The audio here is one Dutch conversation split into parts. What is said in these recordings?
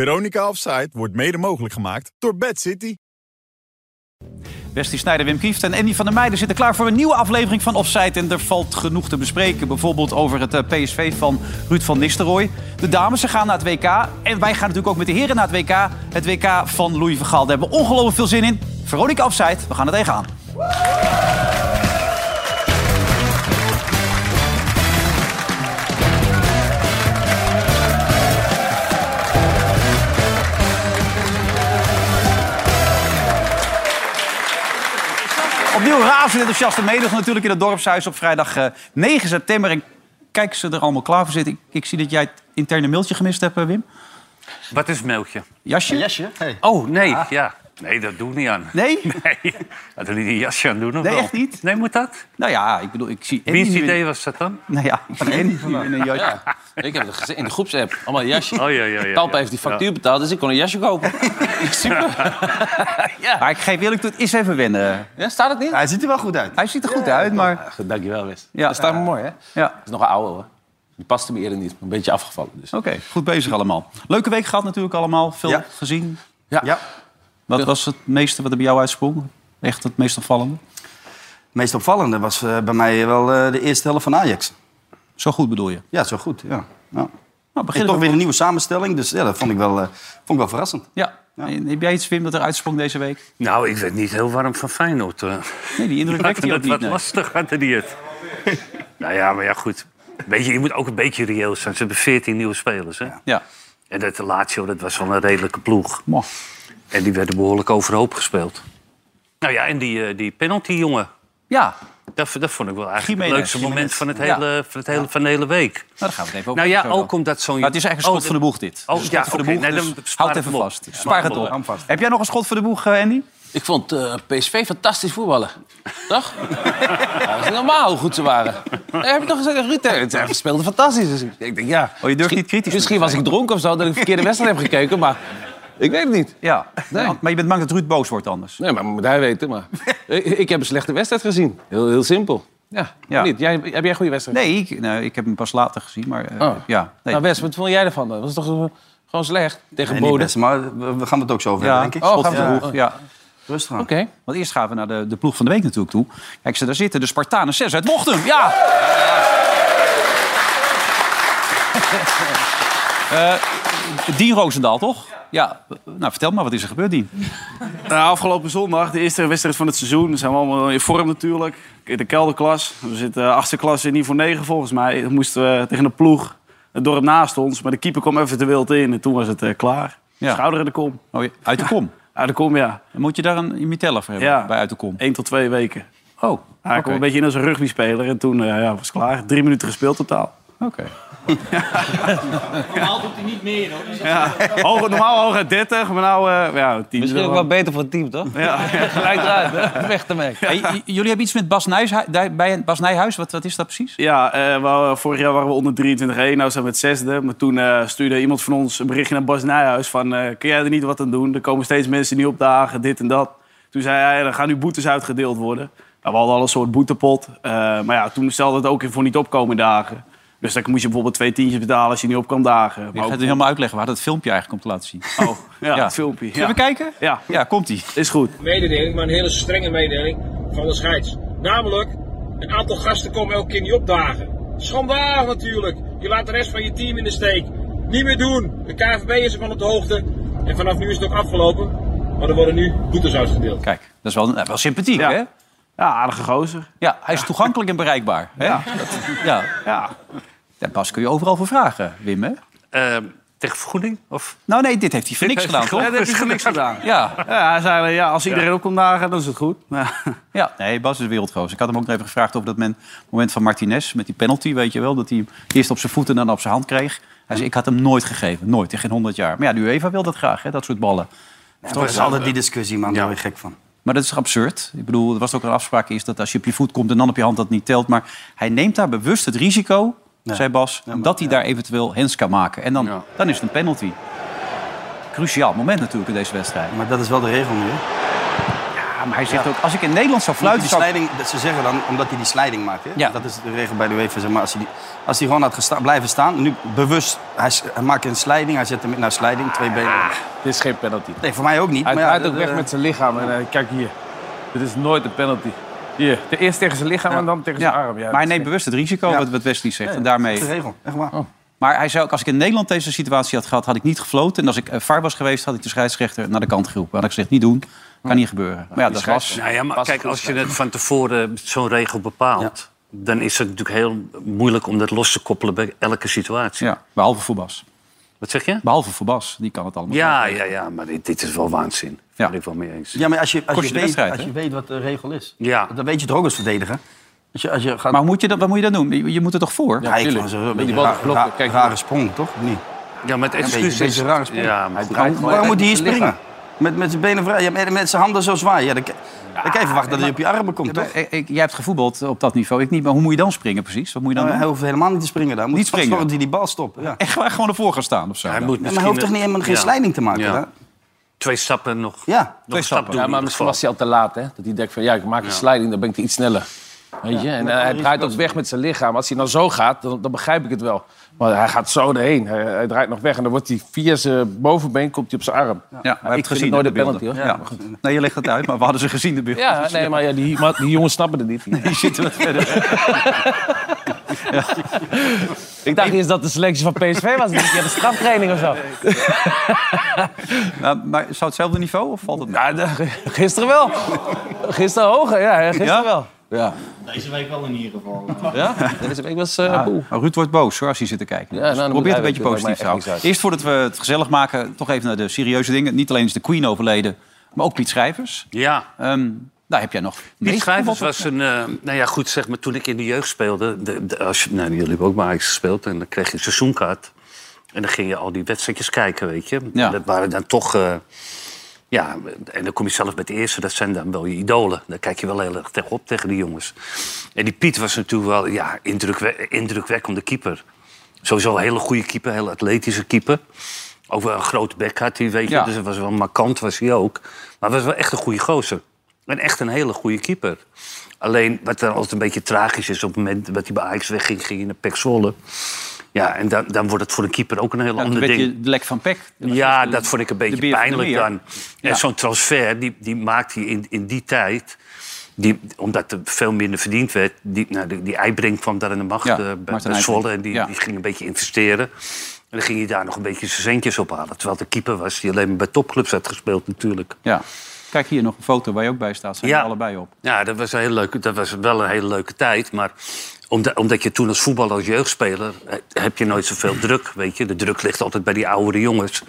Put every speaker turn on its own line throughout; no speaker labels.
Veronica Offside wordt mede mogelijk gemaakt door Bad City.
Westie Snijder, Wim Kieft en Andy van der Meijden zitten klaar voor een nieuwe aflevering van Offside. En er valt genoeg te bespreken. Bijvoorbeeld over het eh, PSV van Ruud van Nistelrooy. De dames ze gaan naar het WK. En wij gaan natuurlijk ook met de heren naar het WK. Het WK van Louis van Gaal. Daar hebben we ongelooflijk veel zin in. Veronica Offside, we gaan er tegenaan. Opnieuw razend enthousiaste menigte natuurlijk in het dorpshuis op vrijdag eh, 9 september. En kijk ze er allemaal klaar voor zitten. Ik, ik zie dat jij het interne mailtje gemist hebt, eh, Wim.
Wat is mailtje?
Jasje?
Jasje? Hey.
Oh, nee,
Ah.
ja. Nee, dat doe ik niet aan.
Nee?
Nee, dat doe ik niet jasje aan doen, of
Nee,
wel?
echt niet?
Nee, moet dat?
Nou ja, ik bedoel, ik zie Andy
Wiens
nu in-
idee was dat dan?
Nou ja, ik zie Andy nu in een jasje.
Ja, ik heb het gezien in de groepsapp. Allemaal jasje.
Oh, ja, ja, ja,
Talpa
ja.
heeft die factuur betaald, dus ik kon een jasje kopen. Super.
Maar ik geef eerlijk toe, het is even wennen.
Ja, staat het niet?
Hij ziet er wel goed uit.
Hij ziet er goed uit, maar...
Ja, goed, dankjewel, Wes.
Ja.
Ja. Dat staat me mooi, hè?
Ja,
Dat is nog een oude, hoor. Die paste me eerder niet. Een beetje afgevallen, dus.
oké. Goed bezig allemaal. Leuke week gehad natuurlijk allemaal. Veel
Ja.
gezien.
Ja.
Wat was het meeste wat er bij jou uitsprong? Echt het meest opvallende?
Het meest opvallende was eh, bij mij wel eh, de eerste helft van Ajax.
Zo goed bedoel je?
Ja, zo goed. Ja. Ja.
Nou,
En
begin
toch
even-
weer een nieuwe samenstelling, dus ja, dat vond ik wel, eh, vond ik wel verrassend.
Ja. En Heb jij iets, Wim, dat er uitsprong deze week?
Nou, ik werd niet heel warm van Feyenoord. eh.
Nee, die indruk
Wat,
wekte je ook
wat,
niet.
wat
nee.
lastig had hij het. nou ja, maar ja, goed. Weet je, je moet ook een beetje reëel zijn. Ze hebben 14 nieuwe spelers, hè?
Ja.
En dat Lazio, dat was wel een redelijke ploeg.
Mo.
En die werden behoorlijk overhoop gespeeld. Nou ja, en die, eh, die penalty, jongen.
Ja, nou,
Dat, dat vond ik wel eigenlijk
Jiménez,
het leukste moment
Jiménez.
van, het
Ja.
hele, van, het hele, van de hele week.
daar gaan we het even over
Nou ja,
hebben. Zo
ook
dan.
omdat zo'n...
Maar het is echt een schot
Oh,
van de boeg, dit.
Oh,
Het is een
ja,
schot van
oké.
de boeg,
Nee, dan
dus
spaar
houd het
het
even
op.
vast.
Ja.
Spaar het op.
Hou hem vast.
Heb jij nog een schot voor de boeg, eh, Andy?
Ik vond eh, PSV fantastisch voetballen. Toch? Ja, dat is niet normaal hoe goed ze waren. Nee, heb ik toch gezegd tegen Ruud? eh, hè, Ze speelden fantastisch. Dus ik denk, ja.
Oh, je durft niet kritisch te
Misschien was ik dronken of zo, dat ik de verkeerde wedstrijd heb gekeken. Maar ik weet het niet.
Ja.
Nee.
Maar je bent bang dat Ruud boos wordt anders.
Nee, maar moet hij weten. Maar. ik, ik heb een slechte wedstrijd gezien. Heel, heel simpel. Ja,
Ja.
Niet. Jij, heb jij een goede wedstrijd?
Nee, ik, nou, ik heb hem pas later gezien, maar eh,
Oh.
ja. Nee.
Nou, Wes, wat vond jij ervan? dan? Dat was toch eh, gewoon slecht? Tegen
Nee, niet
Boden.
best, maar we, we gaan het ook zo over
ja,
hebben, denk ik.
Oh,
schot
gaan we
van de
doen.
boeg,
Oh.
ja.
Rustig aan.
Oké.
Want eerst gaan we naar de, de ploeg van de week natuurlijk toe. Kijk, ze daar zitten, de Spartanen 6 uit Mochtum. Ja! Eh Dien Roosendaal, toch? Ja. Nou, vertel maar, wat is er gebeurd, Dien?
Nou, afgelopen zondag, de eerste wedstrijd van het seizoen. Zijn we allemaal in vorm natuurlijk. In de kelderklas. We zitten eh, achtste klasse in niveau 9 volgens mij. Dan moesten we tegen de ploeg, het dorp naast ons. Maar de keeper kwam even te wild in en toen was het eh, klaar.
Ja.
Schouder in de kom.
Oh, je- uit de kom.
Uit de kom, ja.
Moet je daar een mitella voor hebben,
Ja.
bij uit de kom?
1 tot 2 weken.
Oh, oké.
Hij kwam een beetje in als een rugbyspeler. En toen eh, ja, was het klaar. Drie minuten gespeeld totaal.
Oké.
Hoog, normaal hoog uit 30, maar nou eh ja, 10.
Misschien ook wel beter voor het team, toch?
Ja.
Gelijk eruit, hè? weg ermee.
Hey, j- jullie hebben iets met Bas Nijhuis, bij Bas Nijhuis. Wat, wat is dat precies?
Ja, eh, we waren- vorig jaar waren we onder 23-1. Nou zijn we het zesde. Maar toen eh, stuurde iemand van ons een berichtje naar Bas Nijhuis. Van, eh, kun jij er niet wat aan doen? Er komen steeds mensen niet opdagen, dit en dat. Toen zei hij, er gaan nu boetes uitgedeeld worden. Nou, we hadden al een soort boetepot. Eh, maar ja, toen stelde het ook in voor niet opkomen dagen. Dus dan moest je bijvoorbeeld twee tientjes betalen als je niet op kan dagen.
Je
Maar
gaat
ook,
het helemaal uitleggen. We hadden het filmpje eigenlijk om te laten zien.
oh, ja, het filmpje.
Zullen
Ja,
we kijken?
Ja.
Ja, komt-ie.
is goed.
mededeling, maar een hele strenge mededeling van de scheids. Namelijk, een aantal gasten komen elke keer niet opdagen. Schandalig natuurlijk. Je laat de rest van je team in de steek. Niet meer doen. De KVB is ervan op de hoogte. En vanaf nu is het ook afgelopen. Maar er worden nu boetes uitgedeeld.
Kijk, dat is wel, eh, wel sympathiek,
Ja.
hè?
Ja, aardige gozer.
Ja, hij is toegankelijk en bereikbaar. Hè? Ja. ja.
Ja,
Ja, Bas kun je overal voor vragen, Wim, hè?
eh, tegen vergoeding? Of?
Nou nee, dit heeft hij voor niks gedaan,
Ja,
toch?
dat heb je voor niks gedaan.
Ja.
Ja, hij zei, ja, als iedereen op komt dagen, dan is het goed. Maar-
ja, nee, Bas is wereldgoos. Ik had hem ook nog even gevraagd over dat men, moment van Martinez met die penalty, weet je wel. Dat hij hem eerst op zijn voet en dan op zijn hand kreeg. Hij zei, ik had hem nooit gegeven. Nooit, in geen honderd jaar. Maar ja, de UEFA wil dat graag, hè, dat soort ballen.
Ja, dat is altijd die
eh,
discussie, man. Daar ben ik gek van.
Maar dat is absurd. Ik bedoel, er was ook een afspraak is dat als je op je voet komt en dan op je hand dat niet telt. Maar hij neemt daar bewust het risico, zei Bas, dat hij daar eventueel hens kan maken. En dan, dan is het een penalty. Cruciaal moment natuurlijk in deze wedstrijd.
Maar dat is wel de regel nu. hè?
Ja,
maar hij zegt ook, als ik in Nederland zou fluiten...
die
Zou ik-
slijding, dat ze zeggen dan, omdat hij die slijding maakt. Hè?
Ja.
Dat is de regel bij de UEFA. Zeg maar, als, hij die, als hij gewoon had gesta- blijven staan, nu bewust, hij, s- hij maakt een slijding, hij zet hem in naar slijding, twee benen.
Ah,
Dit is geen penalty.
Nee, voor mij ook niet.
Hij
maar ja,
draait ook
dat,
weg
eh,
met zijn lichaam. En, eh, kijk hier. Dit is nooit een penalty. Hier. De eerst tegen zijn lichaam en dan tegen zijn
ja,
arm. Ja,
maar hij
dat
neemt
is-
bewust het risico,
Ja.
wat, wat Wesley zegt. en
dat
daarmee...
is de regel, echt waar.
Oh. Maar hij zei ook, als ik in Nederland deze situatie had gehad... had ik niet gefloten. En als ik eh, VAR was geweest, had ik de scheidsrechter naar de kant geroepen. Had ik gezegd, niet doen. Kan niet gebeuren. Maar ja, dat was...
Nou ja, maar kijk, als je het van tevoren zo'n regel bepaalt... dan is het natuurlijk heel moeilijk om dat los te koppelen bij elke situatie.
Ja, behalve voor Bas.
Wat zeg je?
Behalve voor Bas, die kan het allemaal.
Ja, ja, ja, maar dit, dit is wel waanzin.
Ja.
Daar ben ik wel mee eens.
Ja, maar als je, als
Kost
je,
je de
weet,
wedstrijd,
als
hè?
je weet wat de regel is,
Ja.
dan weet je het ook als verdediger. Als je, als je gaat
Maar hoe moet je dat, wat moet je dan doen? Je, je moet er toch voor?
ja, ik
tuurlijk.
vond ze een
Die
beetje
bal
raar-
geblokt,
raar-
kijk.
rare sprong, toch? Of Niet.
Ja, maar het
Een beetje,
excuus
beetje
is...
een rare sprong.
Ja, maar goed.
draait gewoon
Waarom moet hij hier
met zijn
springen? Met, met zijn benen vrij, ja, met, met zijn handen zo zwaar. Ja, dan, k- dan kan je verwachten dat hij op je armen komt, toch?
Maar, eh, ik- jij hebt gevoetbald op dat niveau. Ik niet. Maar hoe moet je dan springen precies? Wat moet je dan
Maar
doen?
Eh, hij hoeft helemaal niet te springen daar. Moet
Niet springen.
zorgen dat hij die bal stopt. Ja.
Echt waar, gewoon ervoor gaan staan of zo.
hij
dan?
moet
Ja, maar
misschien
hij hoeft toch niet helemaal geen
ja.
slijding te maken?
Ja.
hè?
Twee stappen nog.
Ja.
nog een
stappen.
stap doen.
Ja, maar
in ieder
misschien was hij al te laat, hè? Dat hij denkt van, ja, ik maak een sliding, dan ben ik er iets sneller. Weet je? En eh, hij draait ook weg met zijn lichaam. Als hij nou zo gaat, dan, dan begrijp ik het wel. Maar hij gaat zo erheen. Hij, hij draait nog weg en dan wordt hij via zijn bovenbeen komt hij op zijn arm.
Ja, we hebben
ik
het
vind
gezien.
het nooit
hè,
een penalty,
beelden.
hoor.
Ja. Nee, je legt het uit, maar we hadden ze gezien de beelden.
Ja, nee, maar ja, die, maar die jongens snappen het niet.
Die zitten wat verder.
Ik dacht eerst dat de selectie van PSV was. Die hebben een straftraining of zo.
Nou, maar zou hetzelfde niveau of valt het mee?
Ja, de- gisteren wel. Gisteren hoger, ja. hè, Gisteren
Ja?
wel. Ja. Deze week wel in ieder geval. Ja? Deze week was... eh, boel.
Oh, Ruud wordt boos hoor, als hij zit te kijken. Dus
Ja, nou, dan moet
Probeer het
hij
een beetje
weten,
positief te
dat maakt
houden.
echt
Eerst voordat we het gezellig maken, toch even naar de serieuze dingen. Niet alleen is de Queen overleden, maar ook Piet Schrijvers.
geval. Ja.
Ehm daar heb jij nog
Piet Schrijvers
meegevoetbald?
was een... eh, nou ja, goed, zeg maar, toen ik in de jeugd speelde... De, de- als je, nou, jullie hebben ook bij Ajax gespeeld. En dan kreeg je een seizoenkaart. En dan ging je al die wedstrijdjes kijken, weet je.
Ja.
En Dat waren dan toch... eh, ja, en dan kom je zelf met de eerste. Dat zijn dan wel je idolen. Daar kijk je wel heel erg tegenop, tegen die jongens. En die Piet was natuurlijk wel ja, indrukwe- indrukwekkende keeper. Sowieso een hele goede keeper, een hele atletische keeper. Ook wel een grote bek had hij, weet je.
Ja.
Dus het was wel markant, was hij ook. Maar was wel echt een goede gozer. En echt een hele goede keeper. Alleen, wat dan altijd een beetje tragisch is... op het moment dat hij bij Ajax wegging, ging hij naar Pek Zwolle. Ja, en dan, dan wordt het voor een keeper ook een heel
Ja, toen
ander
werd
ding.
je de lek van Pek.
Ja,
de-
dat vond ik een
de
beetje
beer van de
pijnlijk
meer.
dan.
Ja.
En zo'n transfer, die, die maakte hij in, in die tijd... Die, omdat er veel minder verdiend werd. Die, nou, die, die Eibrink kwam daar in de macht
Ja,
eh, bij- bij,
Martin Eibrink.
Zwolle. En die,
Ja.
die ging een beetje investeren. En dan ging hij daar nog een beetje zijn centjes op halen. Terwijl de keeper was die alleen maar bij topclubs had gespeeld natuurlijk.
Ja. Kijk hier nog een foto waar je ook bij staat. Zijn
Ja.
er allebei op.
Ja, dat was, een heel leuk, dat was wel een hele leuke tijd. Maar omdat, omdat je toen als voetballer, als jeugdspeler... eh, heb je nooit zoveel druk, weet je. De druk ligt altijd bij die oudere jongens.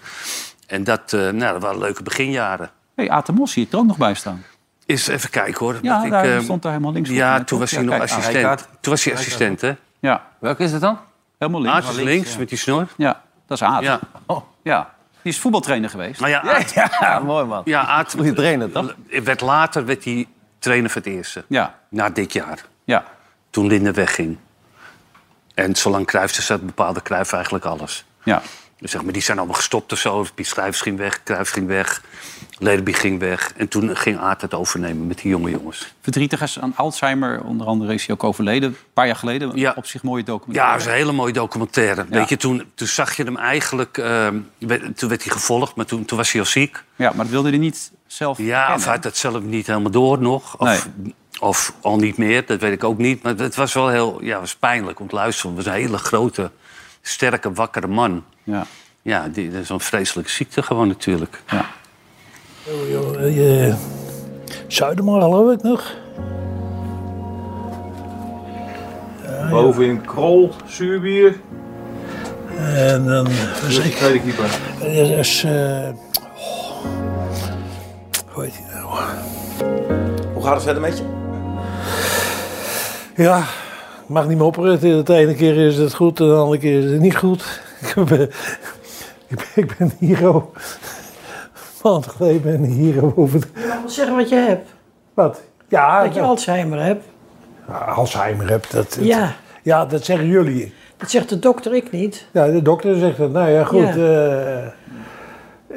En dat, eh, nou, dat waren leuke beginjaren.
hey, Atemos hier er ook nog bij staan.
Is even kijken hoor.
Ja,
Want ik,
daar
eh,
stond hij helemaal links.
Ja,
volgens mij,
toen
toch?
was hij
Ja,
nog
kijk,
assistent.
ah, Rijkaard.
toen was hij assistent, hè?
Ja,
Welke is het dan?
helemaal links.
Aad is links met die snor.
Ja, dat is Aad. Oh.
Ja.
Ja. Die is voetbaltrainer geweest.
Maar ja, Aad,
Ja, mooi man.
ja, Aad
Goeie trainer, toch?
werd later werd hij trainer voor het eerste.
Ja,
Na dit jaar,
ja.
toen Linde wegging. En zolang Cruijff er zat, bepaalde Cruijff eigenlijk alles.
ja.
Dus zeg maar, die zijn allemaal gestopt of zo. Piet Schrijvers ging weg, Cruijff ging weg, Lederby ging weg. En toen ging Aad het overnemen met die jonge jongens.
Verdrietig is aan Alzheimer. Onder andere is hij ook overleden. Een paar jaar geleden.
Ja.
Op zich mooie
Ja,
documentaire.
dat is een hele mooie documentaire. Weet je, toen, toen zag je hem eigenlijk... ehm, werd- toen werd hij gevolgd, maar toen, toen was hij al ziek.
Ja, maar dat wilde hij niet zelf
Ja, of
erkennen.
hij had dat zelf niet helemaal door nog. Of, of al niet meer, dat weet ik ook niet. Maar het was wel heel ja, het was pijnlijk om te luisteren. Het was een hele grote, sterke, wakkere man.
Ja.
Ja, die, dat is een vreselijke ziekte gewoon natuurlijk.
Eh, Zuidema geloof ik nog.
Boven in Krol, zuurbier.
En dan was ik.
Tweede keeper.
Er is. eh, oh, hoe heet die nou?
Hoe gaat het verder met je?
Ja, ik mag niet mopperen. De ene keer is het goed, de andere keer is het niet goed. Ik ben, ik ben, ik ben een hero. Maand geleden ben ik een hero over de-
Zeg wat je hebt.
Wat? Ja,
Dat je Alzheimer hebt.
Alzheimer hebt. Dat, dat-
Ja.
ja, dat zeggen jullie.
Dat zegt de dokter, ik niet.
Ja, de dokter zegt dat. Nou ja, goed. eh,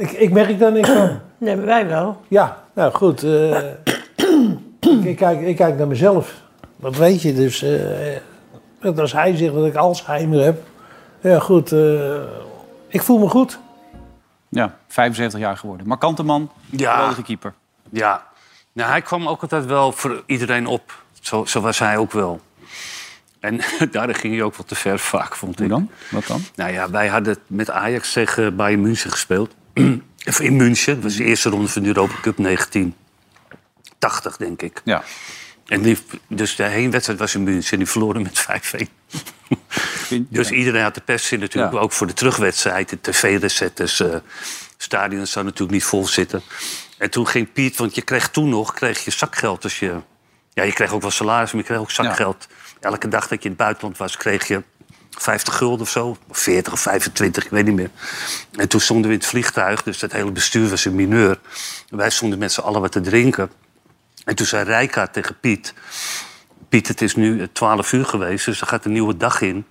ik, ik merk daar niks van.
Nee, maar wij wel.
Ja, nou goed. eh, ik, ik kijk, ik kijk naar mezelf. Dat weet je dus. eh, eh, als hij zegt dat ik Alzheimer heb. Ja, goed. eh, ik voel me goed.
Ja, 75 jaar geworden. Markante man,
Ja.
geweldige keeper.
Ja, nou, hij kwam ook altijd wel voor iedereen op. Zo, zo was hij ook wel. En daar ging hij ook wel te ver vaak, vond ik.
dan? Wat dan?
Nou ja, wij hadden met Ajax tegen Bayern München gespeeld. of in München, dat was de eerste ronde van de Europa Cup 1980, denk ik.
Ja.
En die, dus de heenwedstrijd was in München en die verloren met 5-1. dus iedereen had de pest in natuurlijk,
Ja.
ook voor de terugwedstrijd. De tv-recettes, eh stadions zou natuurlijk niet vol zitten. En toen ging Piet, want je kreeg toen nog kreeg je zakgeld. als je, ja, je kreeg ook wel salaris, maar je kreeg ook zakgeld. Elke dag dat je in het buitenland was, kreeg je 50 gulden of zo. Of 40 of 25, ik weet niet meer. En toen stonden we in het vliegtuig, dus dat hele bestuur was een mineur. En wij stonden met z'n allen wat te drinken. En toen zei Rijka tegen Piet... Piet, het is nu eh, 12 uur geweest, dus er gaat een nieuwe dag in.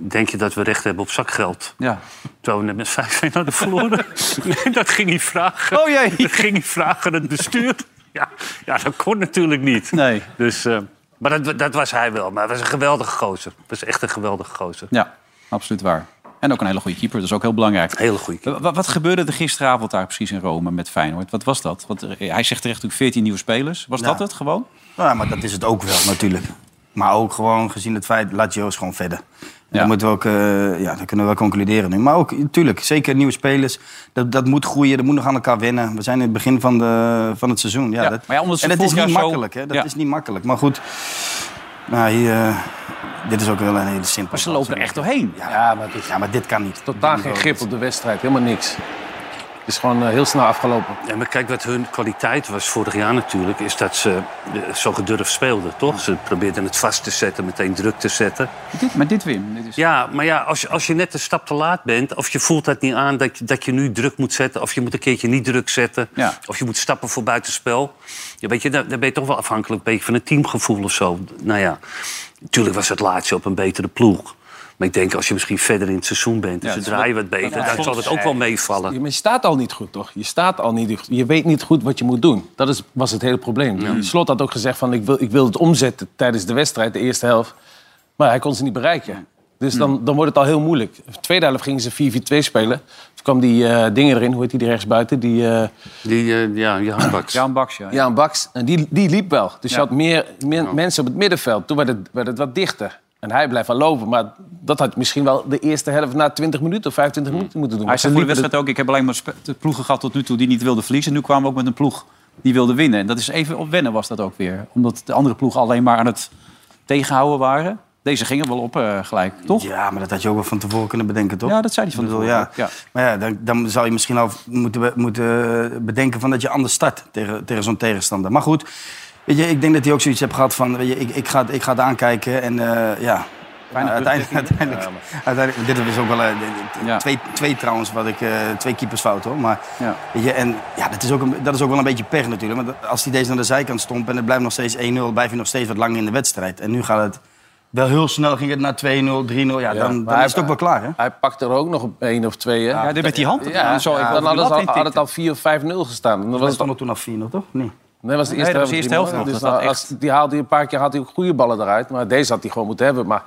Denk je dat we recht hebben op zakgeld?
Ja.
Terwijl we net met 5 hadden verloren. nee, dat ging hij vragen.
Oh jee.
Dat ging hij vragen aan het bestuur. Ja, ja dat kon natuurlijk niet.
Nee.
Dus, eh, maar dat, dat was hij wel. Maar hij was een geweldige gozer. Hij was echt een geweldige gozer.
Ja, absoluut waar. En ook een hele goede keeper, dat is ook heel belangrijk.
Hele goede
Wa- wa- Wat, gebeurde er gisteravond daar precies in Rome met Feyenoord? Wat was dat? Want er- hij zegt terecht natuurlijk 14 nieuwe spelers. Was
Ja.
dat het gewoon?
Nou Ja, maar dat is het ook wel natuurlijk. Maar ook gewoon gezien het feit, Lazio is gewoon verder. En
Ja.
Dat, moeten we ook, eh, ja, dat kunnen we wel concluderen nu. Maar ook, natuurlijk, zeker nieuwe spelers. Dat, dat moet groeien, dat moet nog aan elkaar wennen. We zijn in het begin van, de, van het seizoen. Ja,
Ja,
dat,
maar ja, omdat ze
en dat is
vorig
niet
jaar zo-
makkelijk, hè. Dat
Ja.
is niet makkelijk. Maar goed, nou, hier, eh, dit is ook wel een hele simpele.
Maar ze lopen er echt doorheen.
Ja, maar het is
Ja, maar dit kan niet.
totaal geen grip op de wedstrijd. Helemaal niks. Het is gewoon eh, heel snel afgelopen.
Ja, maar kijk, wat hun kwaliteit was vorig jaar natuurlijk... is dat ze eh, zo gedurfd speelden, toch? Ze probeerden het vast te zetten, meteen druk te zetten.
Dit, maar dit Wim. Dit is...
Ja, maar ja, als je, als je net een stap te laat bent... of je voelt dat niet aan dat je, dat je nu druk moet zetten... of je moet een keertje niet druk zetten...
Ja.
of je moet stappen voor buitenspel... Ja, weet je, dan, dan ben je toch wel afhankelijk een beetje van het teamgevoel of zo. Nou ja, natuurlijk was het laatste op een betere ploeg. Maar ik denk, als je misschien verder in het seizoen bent... en
Ja,
ze
het is
draaien
wel-
wat beter,
dat
dan
klopt.
zal het ook wel meevallen.
Je, maar je staat al niet goed, toch? Je staat al niet goed. Je weet niet goed wat je moet doen. Dat is, was het hele probleem. Slot had ook gezegd van, ik wil, ik wil het omzetten tijdens de wedstrijd, de eerste helft. Maar hij kon ze niet bereiken. Dus dan, dan wordt het al heel moeilijk. De tweede helft gingen ze 4-4-2 spelen. Toen kwam die eh, dingen erin, hoe heet die, die rechtsbuiten? Die... eh,
Die, eh, ja, je handbaks.
Ja, een Baks, ja.
Ja, een Baks. En die, die liep wel. Dus
Ja.
je had meer men- mensen op het middenveld. Toen werd het, werd het wat dichter. En hij blijft wel lopen. Maar dat had misschien wel de eerste helft na 20 minuten of 25 minuten moeten doen.
Hmm. Hij zei
Want
voor
ze
de wedstrijd
liepen
ook, ik heb alleen maar spe- de ploegen gehad tot nu toe die niet wilden verliezen. Nu kwamen we ook met een ploeg die wilde winnen. En dat is even op wennen was dat ook weer. Omdat de andere ploegen alleen maar aan het tegenhouden waren. Deze gingen wel op eh, gelijk, toch? Ja.
Ja, maar dat had je ook wel van tevoren kunnen bedenken, toch?
dat zei hij van
Ik bedoel,
tevoren
ja.
ook, ja.
Maar ja, dan, dan zou je misschien al moeten, be- moeten bedenken van dat je anders start tegen, tegen zo'n tegenstander. Maar goed, weet je, ik denk dat hij ook zoiets heeft gehad van, weet je, ik, ik, ga, het- ik ga het aankijken en eh, ja... Nou, uiteindelijk, uiteindelijk, uiteindelijk- dit is ook wel eh, dit- dit-
Ja.
twee, twee trouwens, wat ik, eh, twee keepersfout hoor. Maar
Ja.
weet je, en, ja, dat, is ook een, dat is ook wel een beetje pech natuurlijk. Want als hij deze naar de zijkant stompt en het blijft nog steeds 1-0, blijf je nog steeds wat langer in de wedstrijd. En nu gaat het wel heel snel, ging het naar 2-0, 3-0. Ja,
Ja,
dan,
maar
dan
hij-
is het ook wel klaar hè?
Hij pakte er ook nog op één of twee. Hè?
dit met die hand.
Ja,
Ja, zo even
dan
over die
hadden
lat
ze al-
heen
had het
tikken.
al 4-5-0 gestaan. Dan
Dat
was
is
het al-
dan toen al 4-0, toch? Nee.
nee, was de
Nee,
eerste
dat was de eerste helft
drie
nog.
man. Dus
Dat
dan-
dat
als- die haalde, een paar keer had hij ook goede ballen eruit. Maar deze had hij gewoon moeten hebben. Maar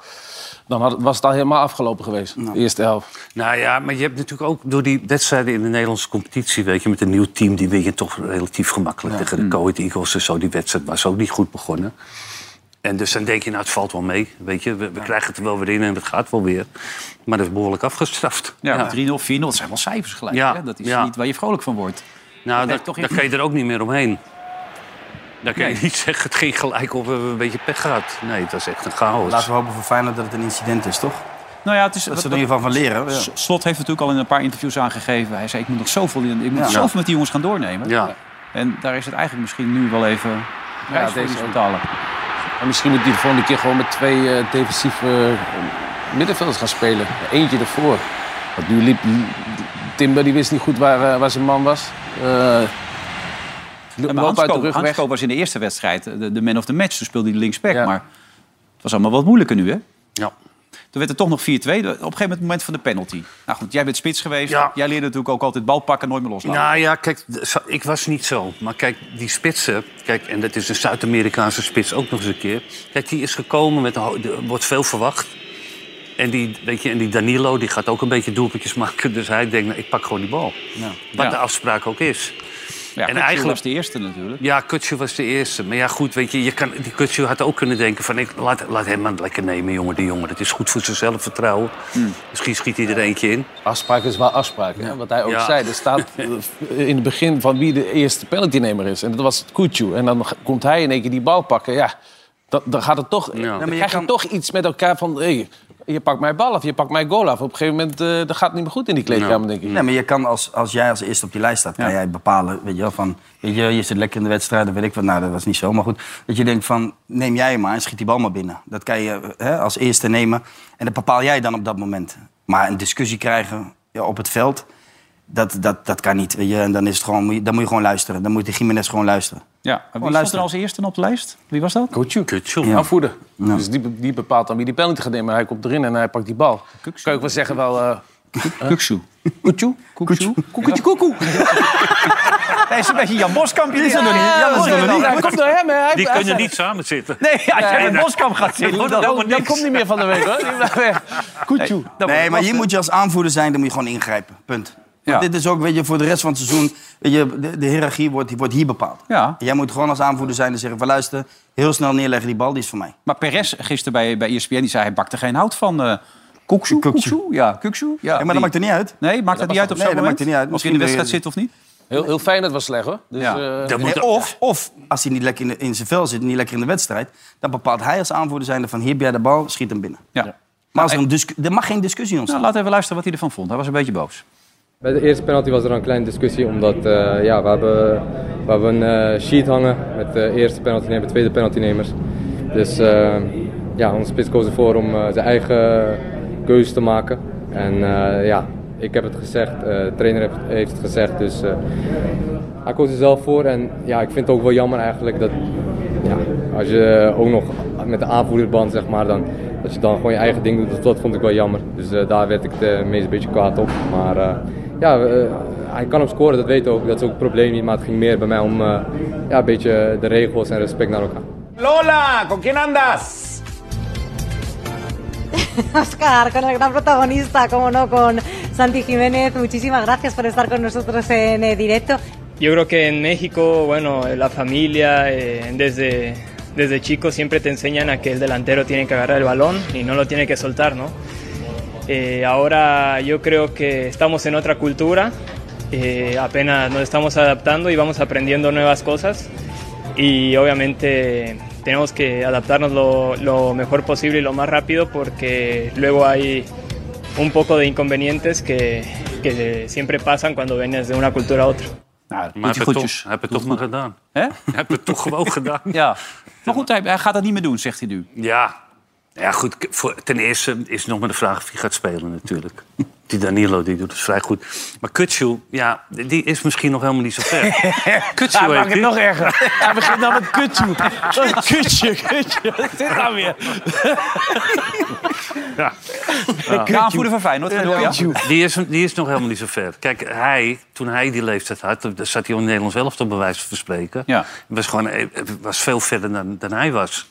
dan had, het- was het al helemaal afgelopen geweest. De eerste helft.
Nou ja, maar je hebt natuurlijk ook door die wedstrijden in de Nederlandse competitie, weet je, met een nieuw team, die win je toch relatief gemakkelijk tegen
Mm.
de Coed Eagles en zo. Die wedstrijd was ook niet goed begonnen. En dus dan denk je, nou, het valt wel mee, weet je. We, we krijgen het er wel weer in en het gaat wel weer. Maar dat is behoorlijk afgestraft. Ja.
3-0, 4-0, dat zijn wel cijfers gelijk.
Ja,
hè? Dat is
ja.
niet waar je vrolijk van wordt.
Nou,
heeft
daar
toch
daar
echt
kan je er ook niet meer omheen. Dan kan je niet zeggen, het ging gelijk of we hebben een beetje pech gehad. Nee, het was echt een chaos.
Laten we hopen voor Feyenoord dat het een incident is, toch?
Nou ja, het is,
Dat
wat-
ze er in ieder geval van leren. Ja.
S- Slot heeft natuurlijk al in een paar interviews aangegeven. Hij zei, ik moet nog zoveel, in- ik moet
Ja.
zoveel met die jongens gaan doornemen.
Ja.
En daar is het eigenlijk misschien nu wel even prijs voor
deze
iets
ook.
betalen.
En misschien moet hij de volgende keer gewoon met twee eh, defensieve eh, middenvelders gaan spelen. Eentje ervoor. Want nu liep Timber, die wist niet goed waar, eh, waar zijn man was. Eh
En maar
loop uit de
Hansko,
rug weg.
Hansko was in de eerste wedstrijd eh, de, de man of the match. Toen speelde hij linksback.
Ja.
Maar het was allemaal wat moeilijker nu, hè?
Ja.
Toen werd het toch nog 4-2. Op een gegeven moment het moment van de penalty. Nou goed, jij bent spits geweest.
Ja.
Jij leerde natuurlijk ook altijd bal pakken, nooit meer loslaten.
Nou ja, kijk, d- zo- ik was niet zo. Maar kijk, die spitsen... Kijk, en dat is een Zuid-Amerikaanse spits ook nog eens een keer. Kijk, die is gekomen met... een ho- Er wordt veel verwacht. En die, weet je, en die Danilo die gaat ook een beetje doelpuntjes maken. Dus hij denkt, nou, ik pak gewoon die bal. Wat
Ja.
de afspraak ook is.
Ja, en eigenlijk
eigenlijk-
was de eerste natuurlijk.
Ja, Kutsu was de eerste. Maar ja, goed, weet je, je kan, die Kutsu had ook kunnen denken van... Ik, laat, laat hem maar lekker nemen, jongen, die jongen. Dat is goed voor zijn zelfvertrouwen.
Hmm.
Misschien schiet hij er eentje in.
Afspraak is wel afspraak. Hè? Wat hij ook
Ja.
zei. Er staat eh, in het begin van wie de eerste penaltynemer is. En dat was Kutju. En dan g- komt hij in één keer die bal pakken. Ja, dat, dan gaat het toch. eh, Dan
maar je
krijg je
kan-
toch iets met elkaar van. Hey, je pakt mijn bal af, je pakt mijn goal af. Op een gegeven moment eh, dat gaat het niet meer goed in die kleedkamer, denk ik.
Nee, maar je kan als, als jij als eerste op die lijst staat, kan jij bepalen, weet je wel, van, weet je, je zit lekker in de wedstrijd, dan weet ik wat, nou, dat was niet zo, maar goed. Dat je denkt van, neem jij hem maar en schiet die bal maar binnen. Dat kan je hè, als eerste nemen en dat bepaal jij dan op dat moment. Maar een discussie krijgen ja, op het veld, dat, dat, dat kan niet, weet je. En dan, is het gewoon, moet je, dan moet je gewoon luisteren. Dan moet de Jiménez gewoon luisteren.
Oh,
Ja. En wie stond er
luisteren.
als eerste op de lijst? Wie was dat?
Kutju.
Kutsu.
Ja.
Aanvoerder. Dus die, be- die bepaalt dan wie die penalty gaat nemen. Maar Hij komt erin en hij pakt die bal. Kan ik wel zeggen wel... eh
Kuksu.
Kutju? Kutju?
Koekertje koekoe. Hij is een beetje Jan Boskamp. Die is er nog niet.
Ja,
Jan is er nog niet.
Hij komt door hem, hè. Hij-
Die
hij
kunnen
zei-
niet samen zitten.
Nee, als jij met Boskamp gaat zitten,
wordt
dan,
het helemaal
Dat komt niet meer van de week, hoor. Die blijft weg. Kutju.
dan wordt
Nee,
het
maar hier
lastig.
moet je als aanvoerder zijn, dan moet je gewoon ingrijpen. Punt. Want
Ja.
Dit is ook, weet je, voor de rest van het seizoen, weet je, de, de hiërarchie wordt, die wordt hier bepaald.
Ja.
Jij moet gewoon als aanvoerder zijn en zeggen van luister, heel snel neerleggen die bal, die is voor mij.
Maar Perez gisteren bij, bij E ESPN, die zei hij bakte geen hout van... eh
Kuksu.
Kuksu, Kuksu, ja, Kuksu. Ja,
Ja, maar dat maakt er niet uit.
Nee, maakt dat niet uit op
nee,
zo'n
dat maakt
moment?
er niet uit.
Of je in de
Misschien
wedstrijd
weer-
zit of niet?
Heel, heel fijn, dat was slecht, hoor. Dus,
Ja.
eh,
Dat moet,
Nee, of, of als hij niet lekker in, de- in zijn vel zit, niet lekker in de wedstrijd, dan bepaalt hij als aanvoerder zijnde van hier heb jij de bal, schiet hem binnen.
Ja.
Maar als er, een discu- er mag geen discussie
Nou,
ontstaan.
laten we even luisteren wat hij ervan vond. Hij was een beetje boos.
Bij de eerste penalty was er een kleine discussie, omdat eh, ja, we, hebben, we hebben een eh, sheet hangen met de eerste penaltynemer, tweede penaltynemers. Dus eh, ja, onze spits koos ervoor om eh, zijn eigen keuze te maken. En eh, ja, ik heb het gezegd, eh, de trainer heeft, heeft het gezegd, dus eh, hij koos er zelf voor. En ja, ik vind het ook wel jammer eigenlijk dat ja, als je eh, ook nog met de aanvoerderband zeg maar, dan, dat je dan gewoon je eigen ding doet, dat, dat vond ik wel jammer. Dus eh, daar werd ik het meest een beetje kwaad op. Maar eh, ja, eh, hij kan hem scoren, dat weet ik ook. Dat is ook het probleem niet, maar het ging meer bij mij om eh, ja, een beetje de regels en respect naar elkaar.
Lola, ¿con quién andas?
Oscar, con el gran protagonista, como no, con Santi Jiménez. Muchísimas gracias por estar con nosotros en eh, directo.
Yo creo que en México, bueno, eh, la familia eh, desde, desde chico siempre te enseñan a que el delantero tiene que agarrar el balón y no lo tiene que soltar, ¿no? Eh, ahora yo creo que estamos en otra cultura, eh, apenas nos estamos adaptando y vamos aprendiendo nuevas cosas y obviamente tenemos que adaptarnos lo, lo mejor posible y lo más rápido porque luego hay un poco de inconvenientes que, que siempre pasan cuando vienes de una cultura a otra.
Nou,
Maar heb
goedje
het
goedjes.
toch, heb het toch maar gedaan.
Hè?
Heb het toch gewoon gedaan.
Ja. Maar goed, hij, hij gaat dat niet meer doen, zegt hij nu.
Ja. Ja, goed. k- voor- ten eerste is nog maar de vraag wie gaat spelen natuurlijk. Die Danilo die doet het vrij goed. Maar Kutsu, ja, die is misschien nog helemaal niet zo ver. Kutsu heeft
Hij maakt het
die-
nog erger. Hij begint dan met kutje. Kutje, kutje. Wat is dit nou weer?
De aanvoerder van Feyenoord. ga door, ja?
Die is, die is nog helemaal niet zo ver. Kijk, hij, toen hij die leeftijd had, toen zat hij in Nederlands elftal bij wijze van spreken.
Ja.
Was, gewoon, eh, was veel verder dan, dan hij was.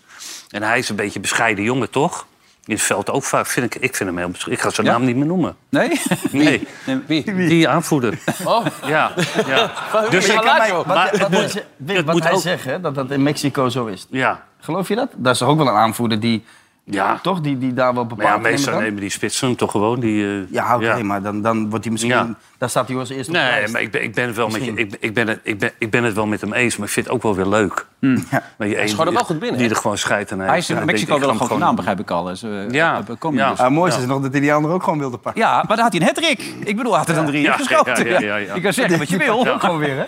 En hij is een beetje een bescheiden jongen, toch? In het veld ook vaak. Vind ik, ik vind hem heel bescheiden. Ik ga zijn
Ja?
naam niet meer noemen.
Nee?
Nee,
Wie?
die aanvoerder.
Oh.
Ja, ja. Dus
Je
ik-
kan mij- wat-
maar-
wat-
dat-
wat-
dat
Wat
moet
hij
ook-
zegt, hè, dat dat in Mexico zo is.
ja.
Geloof je dat? Dat is toch ook wel een aanvoerder die,
Ja.
toch, die, die daar wel
Maar ja,
bepaalt.
meestal
neem ik aan?
nemen die spitsen hem toch gewoon. Die, eh,
Ja, oké,
ja.
maar dan, dan wordt hij misschien...
Ja.
Daar staat hij als eerste op de
Nee,
lijst.
maar ik ben, ik ben het wel met je.
Misschien.
Ik, ik, ben het, ik, ben, ik ben het wel met hem eens, maar ik vind het ook wel weer leuk.
Ja.
Maar je één
schoot hem
die-
wel goed binnen,
Die
hè?
er gewoon scheid aan heeft.
Hij is in
Ja, ik denk,
Mexico
ik
wel
ga
een
hem
grote naam, begrijp ik al. Dus, eh,
Ja.
eh, kom je
Ja.
dus.
Ah, mooi is het nog dat hij die andere ook gewoon wilde pakken.
Ja, maar dan had hij een hattrick. Ik bedoel, hij had er dan drie
Ja,
in geschoten.
ja, ja, ja, ja.
Je kan zeggen wat je wil. Ja.
Gewoon weer, hè?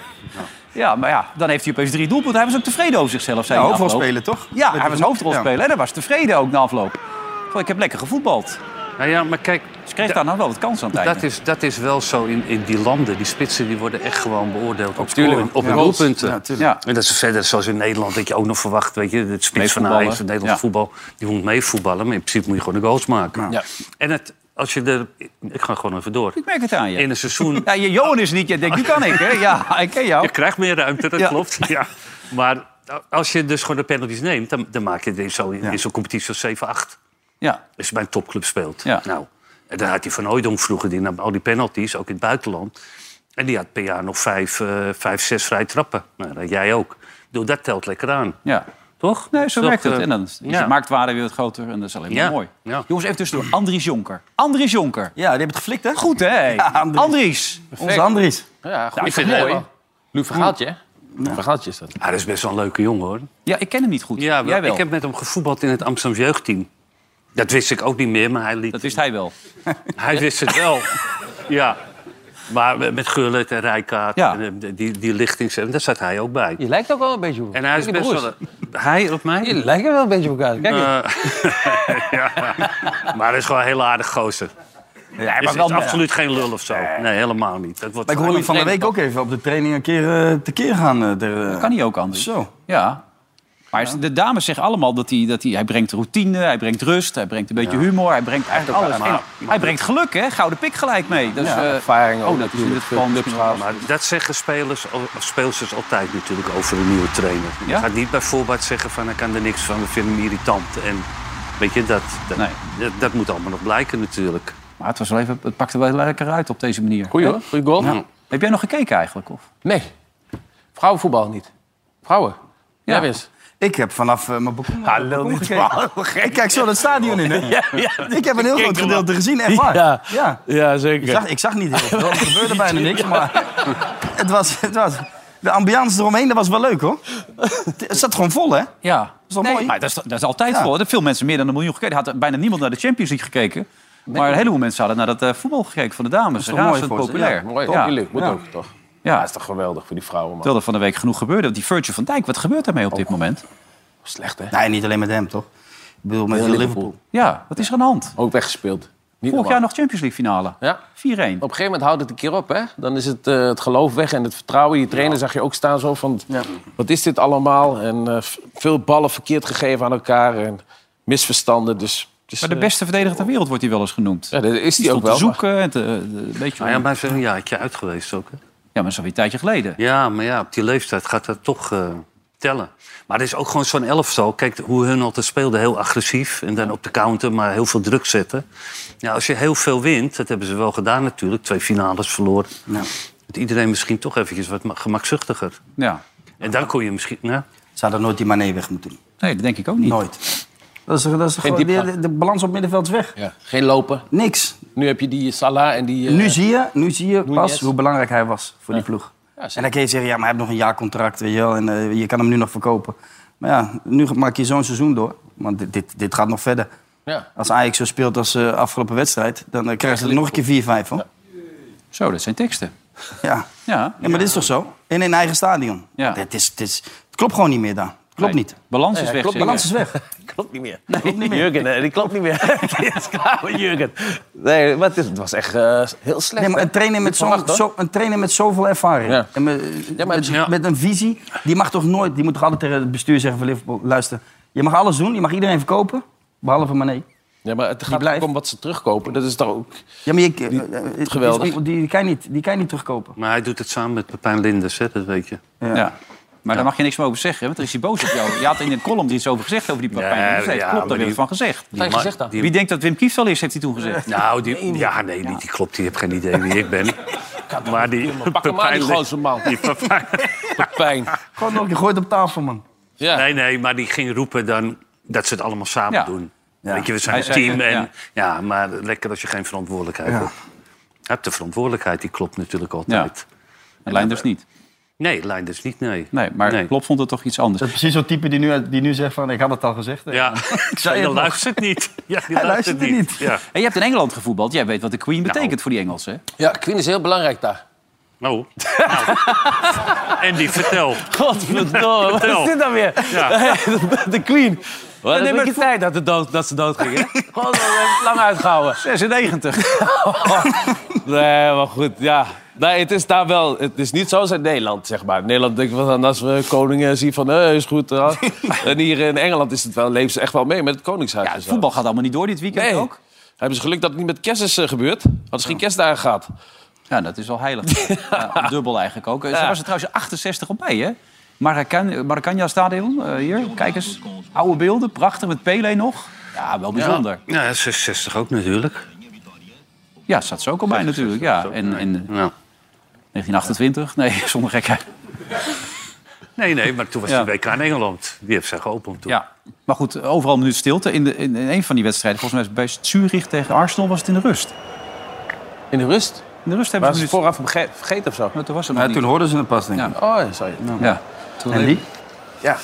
maar ja, dan heeft hij opeens drie doelpunten. Hij was ook tevreden over zichzelf, zei
Ja,
hij na afloop.
hoofdrolspeler, toch?
Ja,
Met
hij
die-
was hoofdrolspeler
Ja.
en hij was tevreden ook na afloop. Van, ik heb lekker gevoetbald.
Nou ja, maar kijk...
Ze kreeg daar nou wel wat kans aan het
Dat
einde.
is, dat is wel zo in, in die landen. Die spitsen die worden echt gewoon beoordeeld op, scoren,
tuurlijk.
op
Ja.
doelpunten.
Ja, tuurlijk.
En dat is verder zoals in Nederland dat je ook nog verwacht. Weet je, het spits van
Meevoetballen.
Ajax, het Nederlands
Ja.
voetbal, die moet meevoetballen. Maar in principe moet je gewoon de goals maken.
Ja.
En het, als je er... Ik ga gewoon even door.
Ik merk het aan je.
In een seizoen...
Ja, je Johan is niet. Je denkt, nu kan ik, hè? Ja, ik ken jou.
Je krijgt meer ruimte, dat
Ja.
klopt. Ja. Maar als je dus gewoon de penalties neemt... dan, dan maak je er zo, in zo'n competitie als 7-8.
Ja.
Als je bij een topclub speelt. Nou, en daar had hij Van Ooydonk vroeger. Die nam al die penalties, ook in het buitenland. En die had per jaar nog vijf, eh, vijf zes vrij trappen. Nou, dat jij ook. Doe dat telt lekker aan.
Ja.
Toch?
Nee, zo
Toch,
werkt het.
eh,
En dan is dus de
ja.
marktwaarde weer wat groter. En dat is alleen maar
Ja,
mooi. Jongens, even tussendoor. Andries Jonker. Andries Jonker.
Ja, die hebben het geflikt, hè?
Goed, hè? Andries.
Onze Andries.
Ja, goed.
Ja, ik vind het
mooi.
helemaal-
Luc Vergaaltje, hè? Luc Vergaaltje is dat.
Ah, dat is best wel een leuke jongen, hoor.
Ja, ik ken hem niet goed.
Ja, wel.
Jij wel.
Ik heb met hem gevoetbald in het Amsterdamse jeugdteam. Dat wist ik ook niet meer, maar hij liet... Dat
wist hij wel.
hij wist het wel, ja. Maar met- met Gullit en Rijkaard
Ja.
en eh, die, die lichtings... en Daar zat hij ook bij.
Je lijkt ook wel een beetje op
En hij is
Kijk,
best
broers.
wel... Hij op mij?
Je lijkt wel een beetje op elkaar. Kijk eens.
Eh, ja. Maar hij is gewoon een heel aardig gozer.
maar
is,
wel-
is absoluut geen lul of zo. Nee, helemaal niet. Dat wordt
Maar ik hoorde hem van de week ook even op de training een keer eh, tekeer gaan. eh, ter, eh,
Kan hij ook, Andries.
Zo.
Ja. Maar de dames zeggen allemaal dat, hij, dat hij, hij brengt routine, hij brengt rust, hij brengt een beetje humor, hij brengt eigenlijk alles.
maar-
En hij brengt geluk, hè? Gouden pik gelijk mee. Dus,
Ja,
eh,
ervaring ook
Oh, dat is in dit geval misschien wel-
Maar dat zeggen spelers, al- speelsters altijd natuurlijk over een nieuwe trainer. Je gaat niet bij voorbaat zeggen van ik kan er niks van, we vinden hem irritant. En weet je, dat, dat, dat, dat moet allemaal nog blijken natuurlijk.
Maar het, was wel even, het pakte wel lekker uit op deze manier.
Goeie
Hè?
hoor, goeie goal. Hm.
Ja. Heb jij nog gekeken eigenlijk? Of?
Nee, vrouwenvoetbal niet. Vrouwen? Ja,
Ja.
wist.
Ik heb vanaf eh, mijn balkon Hallo,
niet
Ik kijk zo dat stadion in, hè? Ik heb een heel groot gedeelte gezien, echt waar.
Ja,
ja.
ja zeker.
Ik, zag, ik zag niet heel veel, er gebeurde bijna niks, maar het was, het was... De ambiance eromheen, dat was wel leuk, hoor. Het zat gewoon vol, hè?
Ja.
is toch
Nee,
mooi?
Maar dat, is, dat is altijd
Ja.
voor. Er hebben veel mensen meer dan een miljoen gekeken. Er had bijna niemand naar de Champions League gekeken. Maar een heleboel mensen hadden naar dat eh, voetbal gekeken van de dames.
toch mooi
Razend
voor ze?
populair.
Ja, mooi.
Ja.
Ook leuk, moet
Ja.
ook, toch?
Ja.
Dat is toch geweldig voor die vrouwen, man.
Terwijl er van de week genoeg gebeurde. Want Die Virgil van Dijk, wat gebeurt daarmee op dit moment?
Oh. Slecht, hè?
Nee, niet alleen met hem, toch? Ik bedoel, met
Heel
heel
Liverpool.
Liverpool.
Ja, wat is er aan de hand?
Ook weggespeeld. Niet
Vorig
normaal.
jaar nog Champions League finale.
Ja.
4-1. Op een
gegeven moment houdt het een keer op, hè? Dan is het, eh, het geloof weg en het vertrouwen. Je trainer zag je ook staan zo van... Wat is dit allemaal? En eh, v- veel ballen verkeerd gegeven aan elkaar. En misverstanden, dus... dus
Maar de beste verdediger ter wereld wordt hij wel eens genoemd.
Ja, dat is die ook
stond
wel.
te zoeken en te, eh, een beetje...
Nou ja, maar hij is een jaartje uit geweest ook. Hè?
Ja, maar zo weer een tijdje geleden.
Ja, maar ja, op die leeftijd gaat dat toch eh, tellen. Maar er is ook gewoon zo'n elftal. Kijk hoe hun altijd speelden, heel agressief. En dan op de counter, maar heel veel druk zetten. Ja, als je heel veel wint, dat hebben ze wel gedaan natuurlijk. Twee finales verloren. Dat iedereen misschien toch eventjes wat ma- gemakzuchtiger.
Ja.
En dan kon je misschien... Nou,
Ze hadden nooit die Mané weg moeten doen.
Nee, dat denk ik ook niet.
Nooit. Dat is, dat is
Geen
gewoon, de,
diepgang.
de- de balans op middenveld is weg.
Ja, geen lopen.
Niks.
Nu heb je die Salah en die... eh,
Nu zie je, nu zie je pas
Nunez.
hoe belangrijk hij was voor die ploeg. en dan kun je zeggen, ja, maar hij heeft nog een jaar contract, weet je wel. En eh, je kan hem nu nog verkopen. Maar ja, nu maak je zo'n seizoen door. Want dit, dit, dit gaat nog verder.
Ja.
Als Ajax zo speelt als eh afgelopen wedstrijd, dan eh, krijgen ze er nog een keer 4-5 van.
Zo, dat zijn teksten.
Ja.
Ja.
ja, maar dit is toch zo? In een eigen stadion.
Ja.
Dit is, dit is, het klopt gewoon niet meer daar. Het Klopt
Nee,
niet.
Balans is weg.
klopt,
zeg
balans
je.
is weg.
klopt niet meer.
klopt niet meer.
Jurgen, eh, die klopt niet meer. Het is klaar met Jurgen. Nee, maar het, is- het was echt eh, heel slecht.
Nee, maar een
hè?
trainer met,
Dit
zo'n-
verwacht, hoor.
zo, een trainer met zoveel ervaring.
Ja.
En met, met, met een visie. Die mag toch nooit. Die moet toch altijd tegen het bestuur zeggen van Liverpool. Luister, je mag alles doen. Je mag iedereen verkopen. Behalve Mané.
Ja, maar het gaat ook om wat ze terugkopen. Dat is toch ook...
Ja, maar je, eh, eh,
geweldig.
Die, die, kan je niet, die kan je niet terugkopen.
maar hij doet het samen met Pepijn Linders, hè, dat weet je.
Ja.
Ja. Maar daar mag je niks meer over zeggen, want dan is hij boos op jou. Je had in een column er iets over gezegd over die partij.
Ja,
klopt,
ja,
daar
maar
hebben we
die-
van gezegd.
Wat heb je gezegd dan?
Wie denkt dat Wim Kieft al is, heeft hij toen gezegd.
Nou, die, ja, nee, niet, die klopt. Die heeft geen idee wie ik ben. Maar die...
Pak hem aan, die
Pepijn-
gozer, man.
die Pepijn-
Pijn.
Gewoon nog, je gooit op tafel, man.
Nee, nee, maar die ging roepen dan dat ze het allemaal samen
Ja.
doen. Weet je, we zijn
Hij
een
zei,
team. En,
ja.
ja. maar lekker als je geen verantwoordelijkheid
Ja.
hebt. Je hebt de verantwoordelijkheid, die klopt natuurlijk
Ja.
altijd.
En Leinders niet.
Nee, Leinders niet, nee.
Nee, maar
Nee.
Klopp vond het toch iets anders.
precies zo'n type die nu, die nu zegt van ik had het al gezegd.
Ja, ik
zei het nog.
luistert niet. Ja, die
Hij luistert niet.
Ja.
En je hebt in Engeland gevoetbald. Jij weet wat de Queen betekent voor die Engelsen. hè?
Ja, Queen is heel belangrijk daar.
Nou. nou. En die vertel.
Godverdomme, wat is dit dan weer?
Ja.
De Queen.
Wat
Nee,
heb
maar
ik je
vo-
tijd dat, het dood, dat ze dood gingen? Gewoon eh, lang uitgehouden.
96.
Nee, maar goed, ja. Nee, het is daar wel... Het is niet zoals in Nederland, zeg maar. In Nederland denk ik wel aan als we koningen zien van... eh, is goed. eh. en hier in Engeland is het wel, leven ze echt wel mee met het koningshuis. Ja,
voetbal gaat allemaal niet door dit weekend ook.
Hebben ze geluk dat het niet met kerst is eh, gebeurd. Hadden ze geen kerstdagen gehad.
Ja, dat is wel heilig. Ja, dubbel eigenlijk ook. Ze
Ja.
was er trouwens 68 op bij, hè? Maracan- Maracanã Stadion, eh, hier. Kijk eens. Oude beelden, prachtig, met Pele nog. Ja, wel bijzonder.
Ja, ja, 66 ook natuurlijk.
Ja, staat ze ook al bij natuurlijk. Ja. En, en 1928? Nee, zonder gekheid.
Nee, nee, maar toen was
Ja.
de WK in Engeland. Die heeft zich geopend toen.
Ja. Maar goed, overal een minuut stilte. In, de, in, in een van die wedstrijden, volgens mij is het bij Zurich tegen Arsenal, was het in de rust.
In de rust?
In de rust hebben
Maar
ze
ze
een minuut...
vooraf verge- vergeten of zo?
Nou, toen was er nog
Ja, toen
niet.
hoorden ze het pas, denk ik.
Ja.
Oh, ja, sorry.
Ja. Toen
En die?
Ja.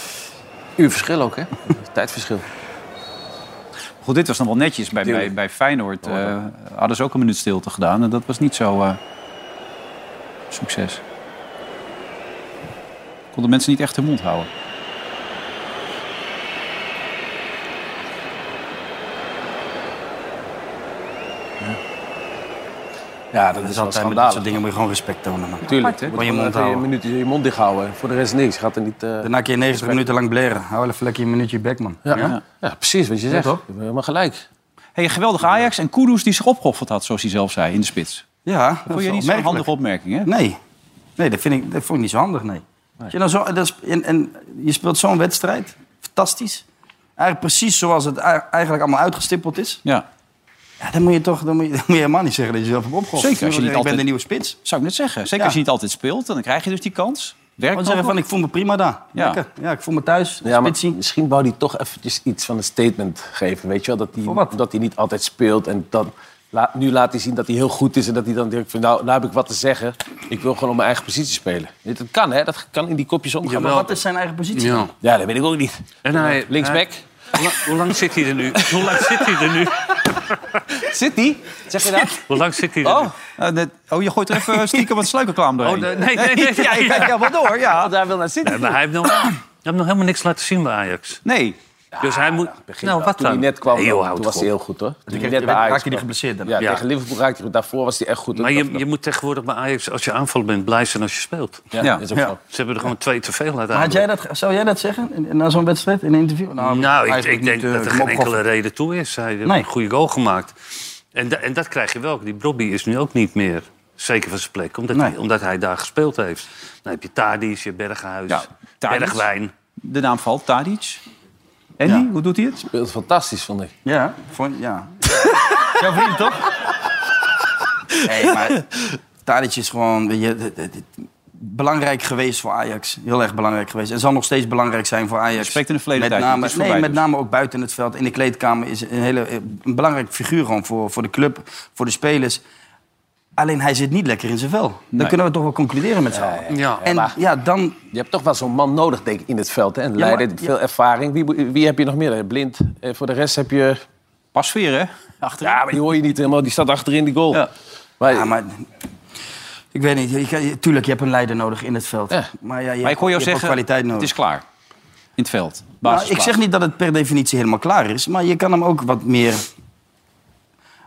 Uw verschil ook, hè? Tijdverschil.
Goed, dit was dan wel netjes. Bij, bij, bij Feyenoord eh, hadden ze ook een minuut stilte gedaan. En dat was niet zo eh, succes. Konden mensen niet echt hun mond houden.
Ja, dat,
Dat
is
is altijd
wel
met
schandalig.
dat soort dingen moet je gewoon respect tonen, man.
Tuurlijk.
Moet
Moet
je je mond
Een
houden.
minuut je mond dicht houden. Voor de rest niks. Gaat er niet... eh,
Daarna kun je 90 minuten lang bleren. Hou even lekker je minuutje back, man.
Ja, ja. precies wat je zegt.
toch?
Je hebt helemaal gelijk.
Hey, geweldig Ajax en Kudus die zich opgeofferd had, zoals hij zelf zei, in de spits.
Ja, dat
Vond
is
je niet zo'n
opmerkelijk.
handige opmerking, hè?
Nee. Nee, dat, vind ik, dat vond ik niet zo handig, nee. Als Je dan zo, dat is- en, en je speelt zo'n wedstrijd. Fantastisch. Eigenlijk precies zoals het a- eigenlijk allemaal uitgestippeld is.
Ja,
Ja, dan moet je toch dan moet je, dan moet je helemaal niet zeggen dat je zelf hebt opgehoord.
Zeker, als je niet
ik
altijd-
ben de nieuwe spits.
zou ik net zeggen. Zeker
Ja.
als je niet altijd speelt, dan krijg je dus die kans. Werkt
Gewoon
nog
zeggen
wel.
van, ik voel me prima daar.
Ja.
Lekker. Ja, ik voel me thuis.
Ja, maar
Spits zien.
misschien wou hij toch eventjes iets van een statement geven. Weet je wel? Dat
Voor
hij,
wat?
dat hij niet altijd speelt. En dan, la- nu laat hij zien dat hij heel goed is. En dat hij dan denkt, van, nou, nou heb ik wat te zeggen. Ik wil gewoon op mijn eigen positie spelen. Weet je, Dat kan, hè? Dat kan in die kopjes
Ja,
omgaan.
maar
maar
wat
wat-
is zijn eigen positie?
Ja.
Ja, dat weet ik ook niet.
En hij,
Linksback.
hij- hoe, lang, hoe lang zit hij er nu? Hoe lang zit hij er nu?
Zit die? Zeg je dat?
Hoe lang zit hij er
Oh, eh, net- oh, je gooit er even stiekem wat sluikerklaam doorheen.
Oh, nee, nee, nee, nee.
ja, je kijkt wel door, ja.
Want hij wil naar City.
nu? Nee, maar hij heeft, nog, hij heeft nog helemaal niks laten zien bij Ajax.
Nee,
dus hij moet...
Begin
Nou,
wel.
wat
toen
dan?
hij net kwam,
Nee, joh,
dan-
houd
toen was hij
op.
heel goed, hoor. Toen hij
kreeg-
net bij Ajax
raakte hij
kwam.
geblesseerd daarna.
Ja,
Ja.
tegen Liverpool raakte hij goed. Daarvoor was hij echt goed.
Maar
Dat-
je, je moet tegenwoordig bij Ajax, als je aanvalt bent, blij zijn als je speelt.
Ja,
Ja.
dat is ook
Ja.
zo.
Ze hebben er gewoon twee te veel laten
Maar had jij dat, zou jij dat zeggen in- na zo'n wedstrijd in een interview?
Nou, ik,
eigenlijk
ik denk
niet, eh,
dat er geen
hem opgeofferd.
enkele reden toe is. Hij heeft
Nee.
een goede goal gemaakt. En, da- en dat krijg je wel. Die Bobby is nu ook niet meer zeker van zijn plek. Omdat,
Nee.
hij, omdat hij daar gespeeld heeft. Dan heb je Tadic, je Berghuis,
Ja, Tadic.
Bergwijn.
de naam valt, Tadic. Andy,
Ja.
hoe doet hij het?
Speelt fantastisch, vond ik.
Ja, vond, ja. Jouw vriend toch? Nee, maar Tadic is gewoon weet je, het- het- het- belangrijk geweest voor Ajax. Heel erg belangrijk geweest. En zal nog steeds belangrijk zijn voor Ajax.
Spreekt in de verleden
met
tijd,
Name,
het is voorbij
nee, met
dus.
name ook buiten het veld. In de kleedkamer is een, hele, eh, een belangrijk figuur gewoon voor, voor de club, voor de spelers. Alleen hij zit niet lekker in zijn vel. Dan kunnen we toch wel concluderen met z'n allen.
Ja.
En
maar-
ja, dan...
Je hebt toch wel zo'n man nodig, denk ik, in het veld. Hè? Een
maar-
leider, veel ervaring. Wie, moet- wie heb je nog meer? Blind. Eh, voor de rest heb je...
Pas weer, hè? Achterin.
Ja, maar die hoor je niet helemaal. Die staat achterin die goal.
Ja.
Maar,
Ja, maar... Ik weet niet, je, kan- tuurlijk, je hebt een leider nodig in het veld.
Ja.
Maar, ja, je,
Maar ik hoor jou
je hebt ook
zeggen,
kwaliteit nodig.
het is klaar. In het veld.
Nou,
Basisplaats.
ik zeg niet dat het per definitie helemaal klaar is, maar je kan hem ook wat meer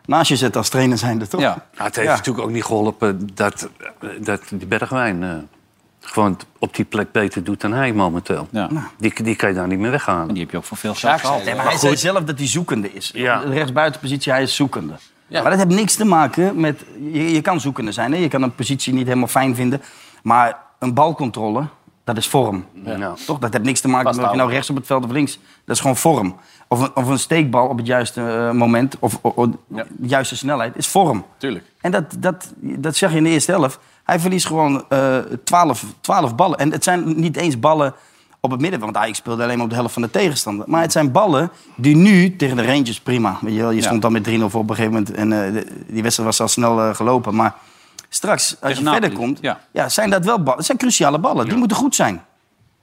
naast je zetten als trainer zijnde, toch?
Ja.
Nou, het heeft
Ja.
natuurlijk ook niet geholpen dat, dat die Bergwijn eh, gewoon op die plek beter doet dan hij momenteel. Nou.
Ja.
Die, die kan je daar niet meer
En
weghalen.
die heb je ook voor veel geld gehaald.
Nee, maar hij zei zelf dat hij zoekende is.
Ja.
Op de rechtsbuitenpositie, hij is zoekende. Maar dat heeft niks te maken met... Je, je kan zoekende zijn, hè? je kan een positie niet helemaal fijn vinden. Maar een balcontrole, dat is vorm.
Nou,
Toch? Dat heeft niks te maken met of je nou rechts op het veld of links. Dat is gewoon vorm. Of een, of een steekbal op het juiste eh, moment, of, o- o- de juiste snelheid, is vorm.
Tuurlijk.
En dat, dat, dat zeg je in de eerste helft. Hij verliest gewoon eh 12, 12 ballen. En het zijn niet eens ballen op het midden, want Ajax speelde alleen maar op de helft van de tegenstander. Maar het zijn ballen die nu tegen de Rangers prima. Weet je, wel, je stond dan met 3-0 voor op een gegeven moment en eh, de- die wedstrijd was al snel eh, gelopen. Maar straks, als
Tegen
je verder
Napoli,
komt,
ja.
ja. zijn dat wel ballen. Het zijn cruciale ballen. Die moeten goed zijn.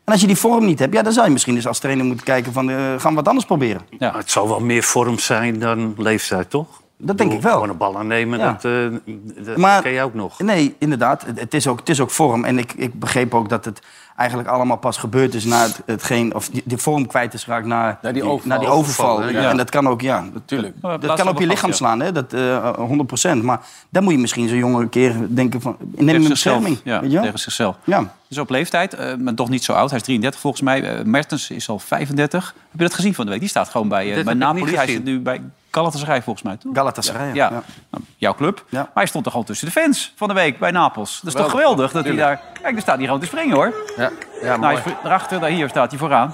En als je die vorm niet hebt, ja, dan zou je misschien dus als trainer moeten kijken van eh, gaan we wat anders proberen.
Ja.
maar Het zal wel meer vorm zijn dan leeftijd, toch?
Dat denk ik wel.
Gewoon een bal aannemen,
Ja.
dat, eh, dat
Maar-
ken je ook nog.
Nee, inderdaad. Het- Het is ook, het is ook vorm. En ik, ik begreep ook dat het eigenlijk allemaal pas gebeurd is na het, hetgeen... of die, de vorm kwijt is geraakt na,
die overval.
na die overval.
Overval, hè, ja.
En dat kan ook, ja. Dat,
Tuurlijk.
dat- dat kan op je lichaam slaan, hè. Dat, eh 100 Maar dan moet je misschien zo'n jongen een keer denken van... neem
Tegen
hem in
zichzelf,
bescherming.
Ja,
weet je wel?
tegen zichzelf.
Ja.
Dus op leeftijd, eh, maar toch niet zo oud. Hij is 33 volgens mij. Eh, Mertens is al 35. Heb je dat gezien van de week? Die staat gewoon bij, eh,
Dit
bij
heb ik
Napoli.
niet
Hij
gezien.
zit nu bij Galatasaray volgens mij, toch?
Galatasaray,
Ja.
ja.
Ja. Nou, jouw club. Maar hij stond er gewoon tussen de fans van de week bij Napels. Dat is toch
Geweldig.
geweldig dat hij daar...
Tuurlijk.
Kijk, daar staat hij gewoon te springen, hoor.
Ja, ja
nou,
mooi.
hij is erachter, daar, hier staat hij vooraan.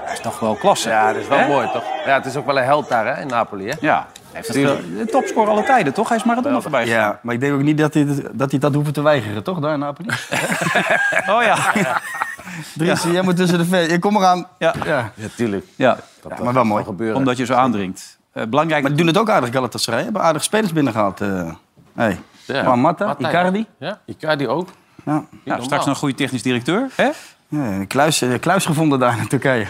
dat is toch wel klasse.
Ja, dat is wel
Hè?
mooi, toch? Ja, het is ook wel een held daar, hè, in Napoli, hè?
Ja. Hij heeft het, eh, topscore alle tijden, toch? Hij is Maradona voorbij. gegaan.
Ja, maar ik denk ook niet dat hij dat, dat, hij dat hoeft te weigeren, toch? Daar in Napoli.
Oh ja.
Dries, jij moet tussen de fans. Je kom eraan.
Ja.
ja.
Ja, tuurlijk.
Ja,
Ja, maar wel mooi.
Omdat je zo aandringt. Eh, belangrijk.
Maar die doen het ook aardig, Galatasaray. Hebben aardig spelers binnengehaald. eh Hey.
Ja.
Juan Mata,
Mata, ja.
Icardi.
Ja, Icardi ook.
Ja.
Nou, straks nog een goede technisch directeur. Hè?
Ja, kluis, eh, kluis gevonden daar in Turkije.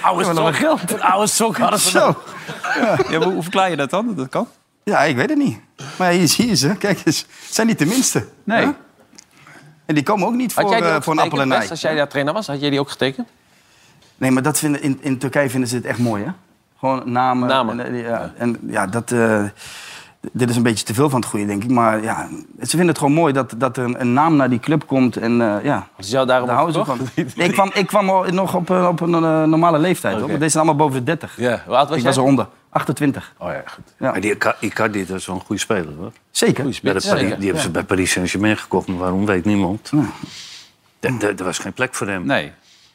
Oude
Ja, maar dat
sok. Oude sok hadden ze
Zo.
Ja, maar hoe verklaar je dat dan? Dat kan?
Ja, ik weet het niet. Maar hier is hier ze. Kijk eens. Het zijn niet de minste.
Nee.
Hè? En die komen ook niet
Had
voor,
jij die
eh,
ook
voor een appel en
getekend,
ei.
Best, Als jij daar trainer was, had jij die ook getekend?
Nee, maar dat vinden, in, in Turkije vinden ze het echt mooi, hè? Gewoon namen.
Namen.
En, eh, ja, en ja, dat... eh, d- dit is een beetje te veel van het goede, denk ik. Maar ja, ze vinden het gewoon mooi dat, dat er een, een naam naar die club komt. En eh, ja,
Dus jou daarom
daar houden ze
opgekocht?
van. Ik kwam, ik kwam al nog op, eh, op een eh, normale leeftijd, hoor. Want Deze zijn allemaal boven de 30.
Ja, hoe oud was
ik
jij?
was eronder. 28.
Oh ja, goed.
Ja.
Maar die Ica- Icardi, dat is wel een goede speler, hoor.
Zeker.
Bij de
spits,
Pari-
zeker.
die hebben ze bij Paris Saint-Germain gekocht, maar waarom weet niemand. Er- Er er was geen plek voor hem.
Nee.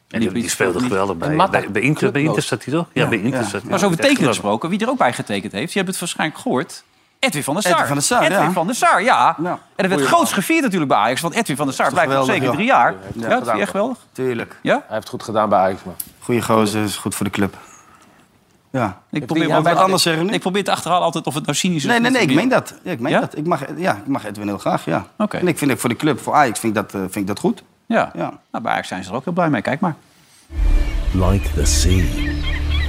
En die, die speelde geweldig bij,
En Mata.
bij, bij Inter. Bij Inter zat hij toch? Ja, bij Inter
ja.
zat hij.
Maar zo over
Echt
tekenen
geweldig.
gesproken, wie er ook bij getekend heeft, je hebt het waarschijnlijk gehoord. Edwin van der Sar.
Edwin van der Sar,
Edwin
ja.
van der Sar, ja.
Ja.
En dat werd groots gevierd natuurlijk bij Ajax, want Edwin van der Sar
toch
blijft nog
geweldig,
zeker drie
ja.
jaar.
Ja,
Ja, dat vind
gedaan.
je echt geweldig.
Tuurlijk.
Ja?
Hij heeft goed gedaan bij Ajax, man.
Goeie gozer, is goed voor de club. Ja.
Ik
die-
probeer,
ja,
ook-
Wat anders zeggen nu?
ik probeer te achterhalen altijd of het nou cynisch is.
Nee,
of
nee,
niet
nee, ik
te
meen dat. Ja, ik meen
Ja?
dat. Ik mag, ja, ik mag Edwin heel graag, ja.
Oké.
En ik vind ook voor de club, voor Ajax, vind ik dat, eh, vind ik dat goed.
Ja.
Ja.
Nou, bij Ajax zijn ze er ook heel blij mee. Kijk maar.
Like the sea,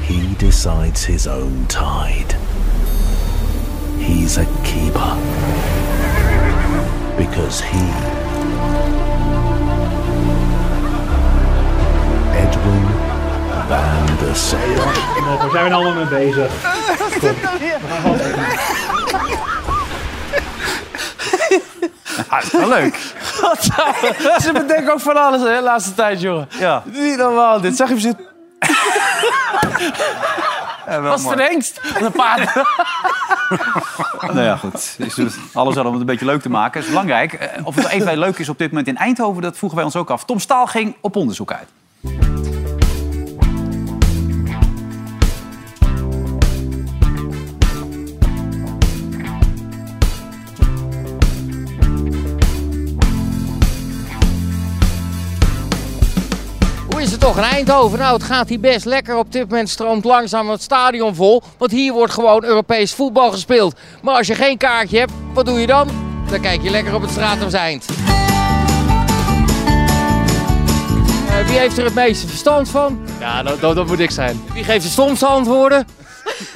he decides his own tide. He's a keeper. Because he. Edwin Van der Sar.
Eh, Daar zijn we allemaal mee bezig.
Ah, leuk.
Ze bedenken ook van alles, hè, laatste tijd, jongen.
Ja.
Niet normaal, dit. Zag je hem zitten? Was de hengst? Een paard.
Nou ja, goed. Dus doe het alles aan om het een beetje leuk te maken. is belangrijk. Eh, Of het even bij leuk is op dit moment in Eindhoven, dat vroegen wij ons ook af. Tom Staal ging op onderzoek uit.
Hoe is het toch in Eindhoven? Nou, het gaat hier best lekker. Op dit moment stroomt langzaam het stadion vol. Want hier wordt gewoon Europees voetbal gespeeld. Maar als je geen kaartje hebt, wat doe je dan? Dan kijk je lekker op het Stratumseind. Eh, wie heeft er het meeste verstand van? Ja, dat, moet ik zijn. Wie geeft de stomste antwoorden?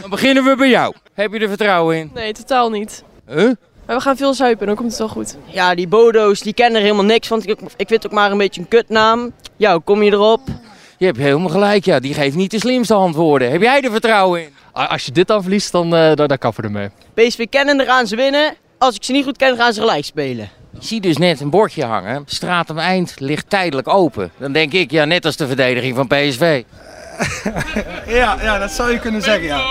dan beginnen we bij jou. Heb je er vertrouwen in?
Nee, totaal niet.
Huh?
Maar we gaan veel zuipen en dan komt het wel goed.
Ja, die Bodo's die kennen er helemaal niks, want ik, ik vind het ook maar een beetje een kutnaam. Ja, hoe kom je erop?
Je hebt helemaal gelijk, ja. Die geeft niet de slimste antwoorden. Heb jij er vertrouwen in?
Als je dit dan verliest, dan, eh dan, dan kappen we ermee.
PSV kennen, dan gaan ze winnen. Als ik ze niet goed ken, gaan ze gelijk spelen.
Ik zie dus net een bordje hangen. Straat om Eind ligt tijdelijk open. Dan denk ik, ja, net als de verdediging van PSV.
Ja, ja dat zou je kunnen zeggen, ja.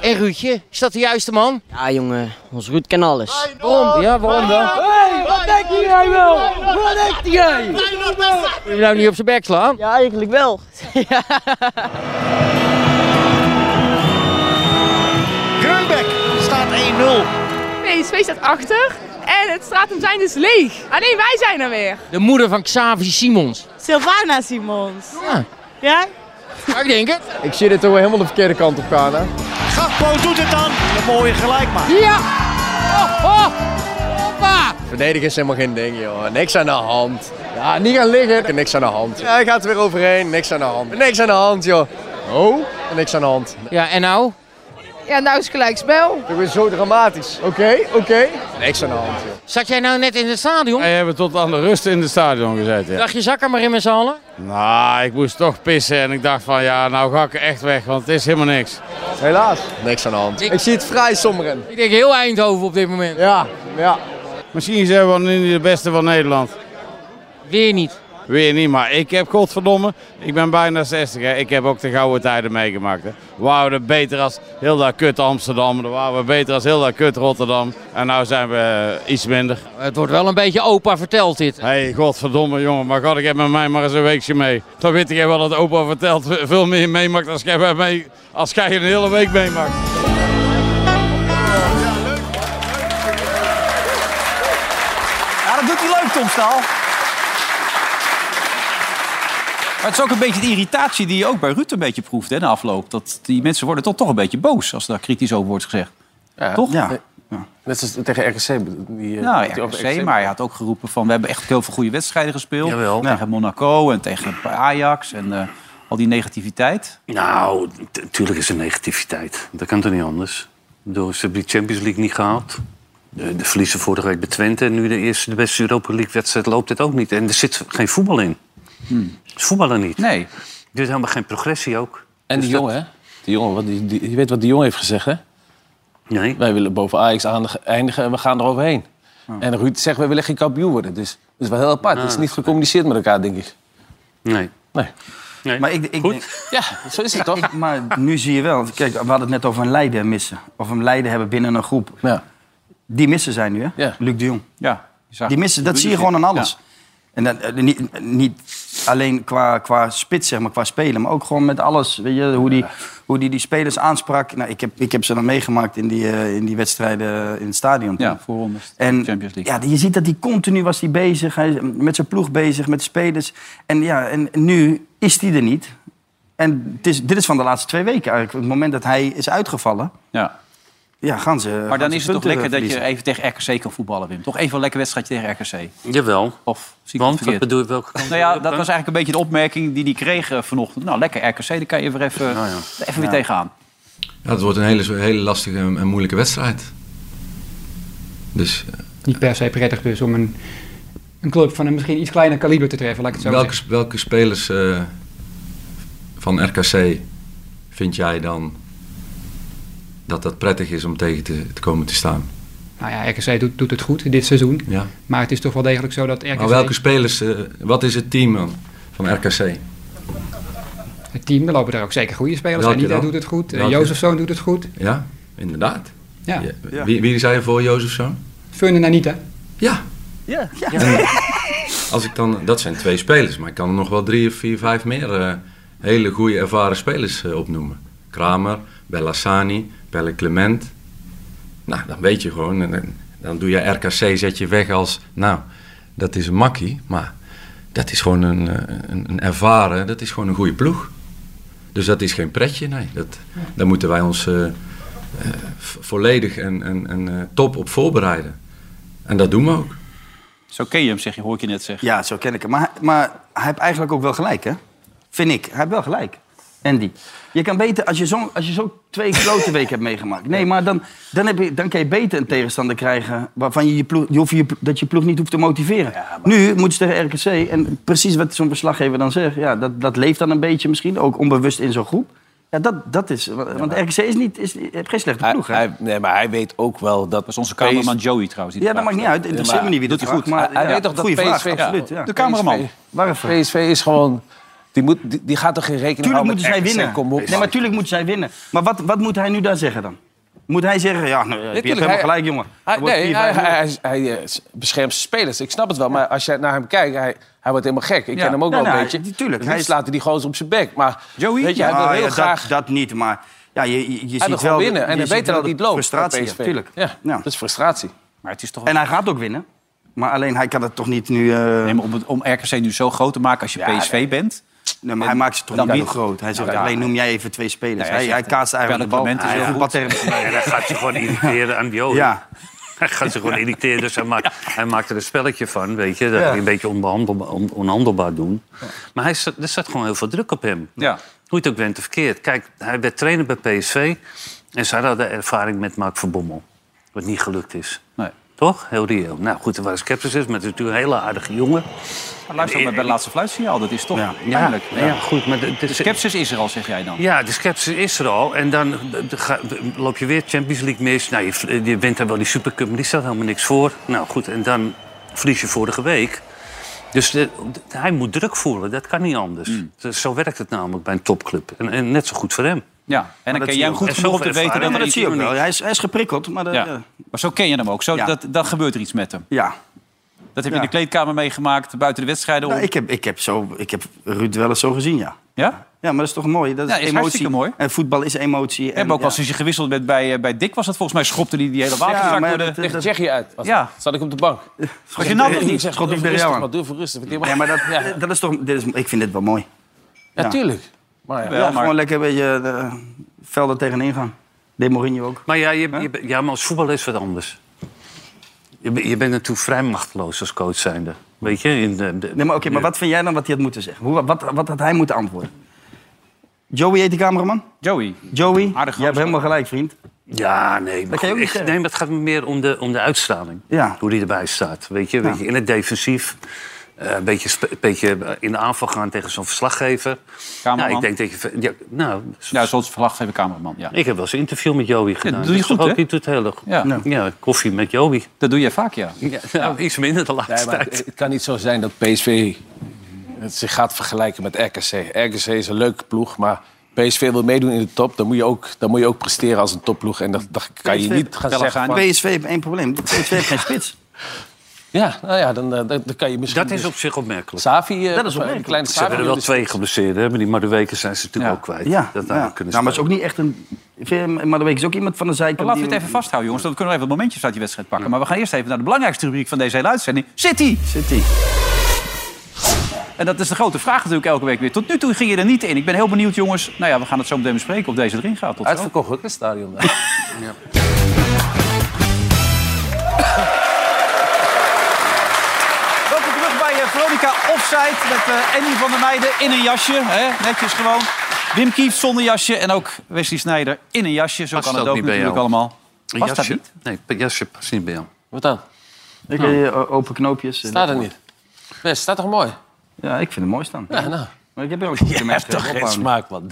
En Ruudje, is dat de juiste man?
Ja, jongen, ons Ruud kan alles.
Waarom? Ja, waarom dan?
Hey, wat denk jij wel? Wat denk jij?
Wil je nou niet op zijn bek slaan?
Ja, eigenlijk wel.
Grunbeck staat 1-0.
PSV staat achter en het stratumsein is leeg. Ah nee, wij zijn er weer.
De moeder van Xavi Simons.
Silvana Simons.
Ja.
Ja?
Ja, ik denk het.
Ik zie dit toch wel helemaal de verkeerde kant op gaan, hè?
Gakpo doet het dan. Een mooie gelijkmaak.
Ja! Oh, oh. Hoppa!
verdedigen is helemaal geen ding, joh. Niks aan de hand. Ja, niet gaan liggen. Niks aan de hand. Ja, hij gaat er weer overheen. Niks aan de hand. Niks aan de hand, joh. Oh, niks aan de hand.
Ja, en nou?
Ja, nou is gelijk spel.
Dat is zo dramatisch. Oké, oké. Niks aan de hand, joh.
Zat jij nou net in het stadion?
Wij hebben tot aan de rust in het stadion gezeten. Ja.
Dacht je, zak er maar in met z'n allen?
Nou, ik moest toch pissen en ik dacht van ja, nou ga ik er echt weg, want het is helemaal niks.
Helaas. Niks aan de hand. Ik, zie het vrij somberen.
Ik denk heel Eindhoven op dit moment.
Ja, ja.
Misschien zijn we nu niet de beste van Nederland.
Weer niet.
Weer niet, maar ik heb godverdomme, ik ben bijna 60 hè. Ik heb ook de gouden tijden meegemaakt hè. Waren we beter als heel dat kut Amsterdam, dan waren we beter als heel dat kut Rotterdam. En nou zijn we eh, iets minder.
Het wordt wel een beetje opa verteld dit.
Hé, hey, godverdomme jongen, maar god, ik heb met mij maar eens een weekje mee. Dan weet ik wel dat opa vertelt veel meer meemaakt als jij, bij mij, als jij een hele week meemaakt.
Ja, dat doet hij leuk, Tom Staal. Maar het is ook een beetje de irritatie die je ook bij Ruud een beetje proeft hè, na afloop. Dat die mensen worden toch, toch een beetje boos als daar kritisch over wordt gezegd. Toch?
Ja. Net zoals tegen RKC. Die, eh,
Nou,
die
ja,
over
RKC, maar hij had ook geroepen van... we hebben echt heel veel goede wedstrijden gespeeld.
Jawel.
Tegen Monaco en tegen Ajax en eh, al die negativiteit.
Nou, t- tuurlijk is er negativiteit. Dat kan toch niet anders? Door ze hebben die Champions League niet gehaald. De, de verliezen vorige week bij Twente. En nu de eerste, de beste Europa League wedstrijd loopt het ook niet. En er zit geen voetbal in.
Hmm.
Het is voetballen niet.
Nee.
Er is helemaal geen progressie ook. Dus
En die jongen, hè? Die jongen, wat die, die- je weet wat die jongen heeft gezegd, hè?
Nee.
Wij willen boven Ajax aandig- eindigen en we gaan eroverheen.
Oh.
En Ruud zegt, wij willen geen kampioen worden. Dus dat is wel heel
Ah,
apart. Dat is niet gecommuniceerd met elkaar, denk ik.
Nee.
Nee.
Maar ik, ik,
Ja, zo is het toch?
maar nu zie je wel, kijk, we hadden het net over een leider missen. Of een leider hebben binnen een groep. Die missen zijn nu, hè? Luc de Jong.
Ja, je zag-
Die missen, dat zie je gewoon aan alles. En dat, eh, niet, eh, niet alleen qua, qua spits, zeg maar, qua spelen, maar ook gewoon met alles. Weet je, hoe die, hoe die, die spelers aansprak. Nou, ik, heb, ik heb ze dan meegemaakt in die, eh, in die wedstrijden in het stadion. toen.
Ja, voorrondes.
En
Champions League.
ja, je ziet dat hij continu was die bezig. Hij is met zijn ploeg bezig, met de spelers. En, ja, en nu is hij er niet. En het is, dit is van de laatste twee weken eigenlijk. Op het moment dat hij is uitgevallen,
Ja.
ja, gaan
Eh,
ze.
Maar
gaan
dan
ze
is het toch
punten
lekker dat je
verliezen.
even tegen RKC kan voetballen, Wim. Toch even een lekker wedstrijdje tegen RKC.
Jawel.
Of zie ik het
Want, wat
verkeerd?
bedoel je welke kant?
Nou ja, dat was eigenlijk een beetje de opmerking die die kreeg eh, vanochtend. Nou, lekker RKC, daar kan je weer even,
Nou
even weer
Ja.
tegenaan.
Ja, het wordt een hele, hele lastige en moeilijke wedstrijd. Dus eh,
Niet per se prettig dus om een, een club van een misschien iets kleiner kaliber te treffen, laat ik het zo
welke, welke spelers eh, van RKC vind jij dan dat dat prettig is om tegen te, te komen te staan?
zeggen. Nou ja, RKC doet, doet het goed dit seizoen.
Ja.
Maar het is toch wel degelijk zo dat RKC...
Maar welke spelers, eh, wat is het team dan van RKC?
Het team, daar lopen er ook zeker goede spelers.
Welke
Anita
dan?
doet het goed, eh,
Welke?
Jozefzoon doet het goed.
Ja, inderdaad.
Ja.
Je- Wie, wie zei je voor, Jozefzoon?
Fun en Anita.
Ja.
Ja.
En Als ik dan, dat zijn twee spelers, maar ik kan er nog wel drie of vier, vijf meer eh, hele goede ervaren spelers eh, opnoemen. Kramer, Bellassani, Pelle Clement. Nou, dan weet je gewoon, en, en dan doe je RKC, zet je weg als, nou, dat is een makkie, maar dat is gewoon een, eh, een, een ervaren, dat is gewoon een goede ploeg. Dus dat is geen pretje, nee. Dat, daar moeten wij ons eh, eh, v- volledig en, en, en eh, top op voorbereiden. En dat doen we ook.
Zo ken je hem, zeg je, hoor ik je net zeggen.
Ja, zo ken ik hem. Maar, hij- maar hij heeft eigenlijk ook wel gelijk, hè? Vind ik. Hij heeft wel gelijk. Andy. Je kan beter, als je zo'n als je zo twee klote weken hebt meegemaakt. Nee, maar dan, dan, heb je, dan kan je beter een tegenstander krijgen. waarvan je, je, ploeg, je, hoeft je dat je ploeg niet hoeft te motiveren. Nu moeten ze tegen RKC. en precies wat zo'n verslaggever dan zegt. Ja, dat, dat leeft dan een beetje misschien. ook onbewust in zo'n groep. Ja, dat, dat is. Want RKC is niet, is, heeft geen slechte ploeg, hè?
Hij- nee, maar hij weet ook wel dat... was
onze cameraman Joey trouwens.
Ja, dat maakt niet uit. Het interesseert me niet wie dat
doet hij
vraagt,
goed.
maar
hij
ja,
weet toch dat
goeie
PSV...
vraag, absoluut, ja.
De cameraman.
Waarvoor?
PSV is gewoon... Die, moet, die, die gaat toch geen
Nou,
rekening
Tuurlijk
houden
moeten zij winnen.
met RKC?
eh,
Kom op,
nee, maar tuurlijk moeten zij winnen. Maar wat, wat moet hij nu daar zeggen dan? Moet hij zeggen, ja, nou, je hebt
Natuurlijk,
helemaal
hij-
gelijk, jongen.
Hij,
Dan wordt
nee,
4-5-0.
hij, hij, hij, hij, eh, s- beschermt zijn spelers. Ik snap het wel. Maar als je naar hem kijkt, hij, hij wordt helemaal gek. Ik
Ja.
ken hem ook
Ja,
wel
nou,
een beetje.
die- tuurlijk,
Het
hij
liefst
is-
laat hij die gozer op zijn bek. Maar weet je, hij wil
Nou,
heel
ja, dat-
graag...
Dat, niet, maar ja, je, je, je ziet
hij wil
wel...
gewoon winnen. En
je
hij
ziet
weet dat
wel
het niet loopt.
Frustratie,
bij
ja,
PSV.
tuurlijk.
Ja, dat is frustratie.
Maar het is toch
En hij gaat ook winnen. Maar alleen, hij kan het toch niet nu... eh,
Om, het- om RKC nu zo groot te maken als je PSV bent.
Nee, maar hij maakt ze toch
Dan
niet zo
niet. Nou,
groot. Hij zegt,
Ja, ja.
alleen noem jij even twee spelers.
Nee, hij
hij, hij
zegt,
Ah,
kaatst eigenlijk de bal.
Pellegrini is
Hij
heel
voetbalt
goed.
tegen-
En dan gaat je gewoon irriteren aan die oren.
Ja.
Hij gaat ze gewoon irriteren. Dus hij, maakt, hij maakt er een spelletje van, weet je. Dat
Ja.
hij een beetje onbehandelbaar, on- onhandelbaar doen. Maar hij, zat- er zat gewoon heel veel druk op hem.
Ja.
Hoe je het ook bent of verkeerd. Kijk, hij werd trainer bij PSV. En zij hadden ervaring met Mark van Bommel. Wat niet gelukt is.
Nee.
Toch? Heel reëel. Nou goed, er waren sceptisch, maar het is natuurlijk een hele aardige jongen.
Maar luister ook maar bij het laatste fluitsignaal. Oh, Dat is toch ja. pijnlijk.
ja, goed. Maar de,
sceptisch is er al, zeg jij dan.
Ja, de scepticis is er al. En dan de- de- ga- loop je weer Champions League mis. Nou, je, v- je wint dan wel die Supercup, maar die stelt helemaal niks voor. Nou goed, en dan verlies je vorige week. Dus de- de- hij moet druk voelen, dat kan niet anders. Dus Zo werkt het namelijk bij een topclub. En, en net zo goed voor hem.
Ja, en dan
dat
ken
zie
jij hem
je
goed
ook. En
genoeg om te
zoveel
weten dat
ervaring.
er
Maar
iets
dat zie je ook wel.
Hij is, hij is geprikkeld, maar... eh, dat-
Ja.
ja.
Maar zo ken je hem ook. Zo,
Ja.
dat, dan gebeurt er iets met hem.
Ja.
Dat heb je
Ja.
in de kleedkamer meegemaakt, buiten de wedstrijden.
Nou,
om.
ik, heb, ik, heb zo, ik heb Ruud wel eens zo gezien, ja.
Ja?
Ja, maar dat is toch mooi? Dat is,
Ja, is
emotie.
hartstikke mooi.
En voetbal is emotie.
We hebben ook
ja.
al sinds je gewisseld werd bij, eh, bij Dick, was dat volgens mij, schopte die, die hele
Ja,
waterzak
maar
door de...
dat- dat-
Tsjechië uit. Was
Ja.
Zat ik op de bank.
Was je nat of
Eh, zeg,
niet?
Doe
Schot
even
ik bij
rustig,
jou
man.
aan.
Doe even rustig.
Ja, maar dat, dat is toch... Dit is, ik vind dit wel mooi. Ja.
Natuurlijk. Maar
Ja,
ja.
maar-
gewoon lekker een beetje eh, velden tegenin gaan. De Mourinho ook.
Maar ja, je, je, ja, maar als voetballer is het wat anders. Je, ben- je bent natuurlijk vrij machteloos als coach zijnde. Weet je? In de, de-
Nee, maar oké, maar
de-
wat vind jij dan wat hij had moeten zeggen? Hoe, wat, wat had hij moeten antwoorden? Joey heet die cameraman?
Joey.
Joey, je hebt helemaal gelijk, vriend.
Ja, nee. Maar
kan je ook
goed,
niet
ik, nee, maar het gaat me meer om de, om de uitstraling.
Ja.
Hoe die erbij staat. Weet je, weet je in het defensief. eh, een beetje, spe- een beetje in de aanval gaan tegen zo'n verslaggever.
Cameraman.
Nou, ik denk dat je... Ja, nou,
Ja, zoals verslaggever cameraman, ja.
ik heb wel eens een interview met Joey gedaan.
doe je
is toch
goed,
ook,
hè?
Die doet het heel goed.
Ja.
Ja. koffie met Joey.
Dat doe je vaak, ja. eh,
Ja, nou, iets minder de
Nee,
laatste
maar het
tijd.
het kan niet zo zijn dat PSV het zich gaat vergelijken met RKC. RKC is een leuke ploeg, maar PSV wil meedoen in de top. Dan moet je ook, dan moet je ook presteren als een topploeg. En dat, dat kan je
PSV
niet gaan zeggen van...
PSV heeft één probleem. PSV heeft geen spits.
Ja, nou ja, dan, eh, dan, dan kan je misschien...
Dat is
dus-
op zich opmerkelijk.
Savi,
Dat
eh,
is
een
opmerkelijk.
kleine
Ze hebben
Savi.
er wel twee geblesseerd, hè? maar die Maduweken zijn ze natuurlijk
Ja.
ook kwijt.
Ja,
Dat
ja.
hadden kunnen
Nou, maar het is
spelen.
ook niet echt een... Vind je hem- Maar de week is ook iemand van de zijkant.
Maar laten we
die-
het even vasthouden, jongens. Dan kunnen we even wat momentjes uit die wedstrijd pakken. Maar we gaan eerst even naar de belangrijkste rubriek van deze hele uitzending. City!
City.
En dat is de grote vraag natuurlijk elke week weer. Tot nu toe ging je er niet in. Ik ben heel benieuwd, jongens. Nou ja, we gaan het zo meteen bespreken of deze erin gaat. Tot zo.
Uitverkocht ook, het stadion.
Welkom terug bij eh, Veronica Offside met eh, Andy van der Meijden in een jasje. Hè? Netjes gewoon. Wim Kieft zonder jasje en ook Wesley Snijder in een jasje. Zo
Past
kan het
dat
ook
niet bij
natuurlijk
jou?
allemaal. Past dat
jasje.
niet?
Nee, een jasje past niet bij jou.
Wat dan?
Ik, eh, open knoopjes. eh,
Staat er
dat-
niet? Nee, staat toch mooi?
Ja, ik vind het mooi staan.
Ja, nou.
Maar ik heb er ook niet
Hij heeft toch geen smaak, man.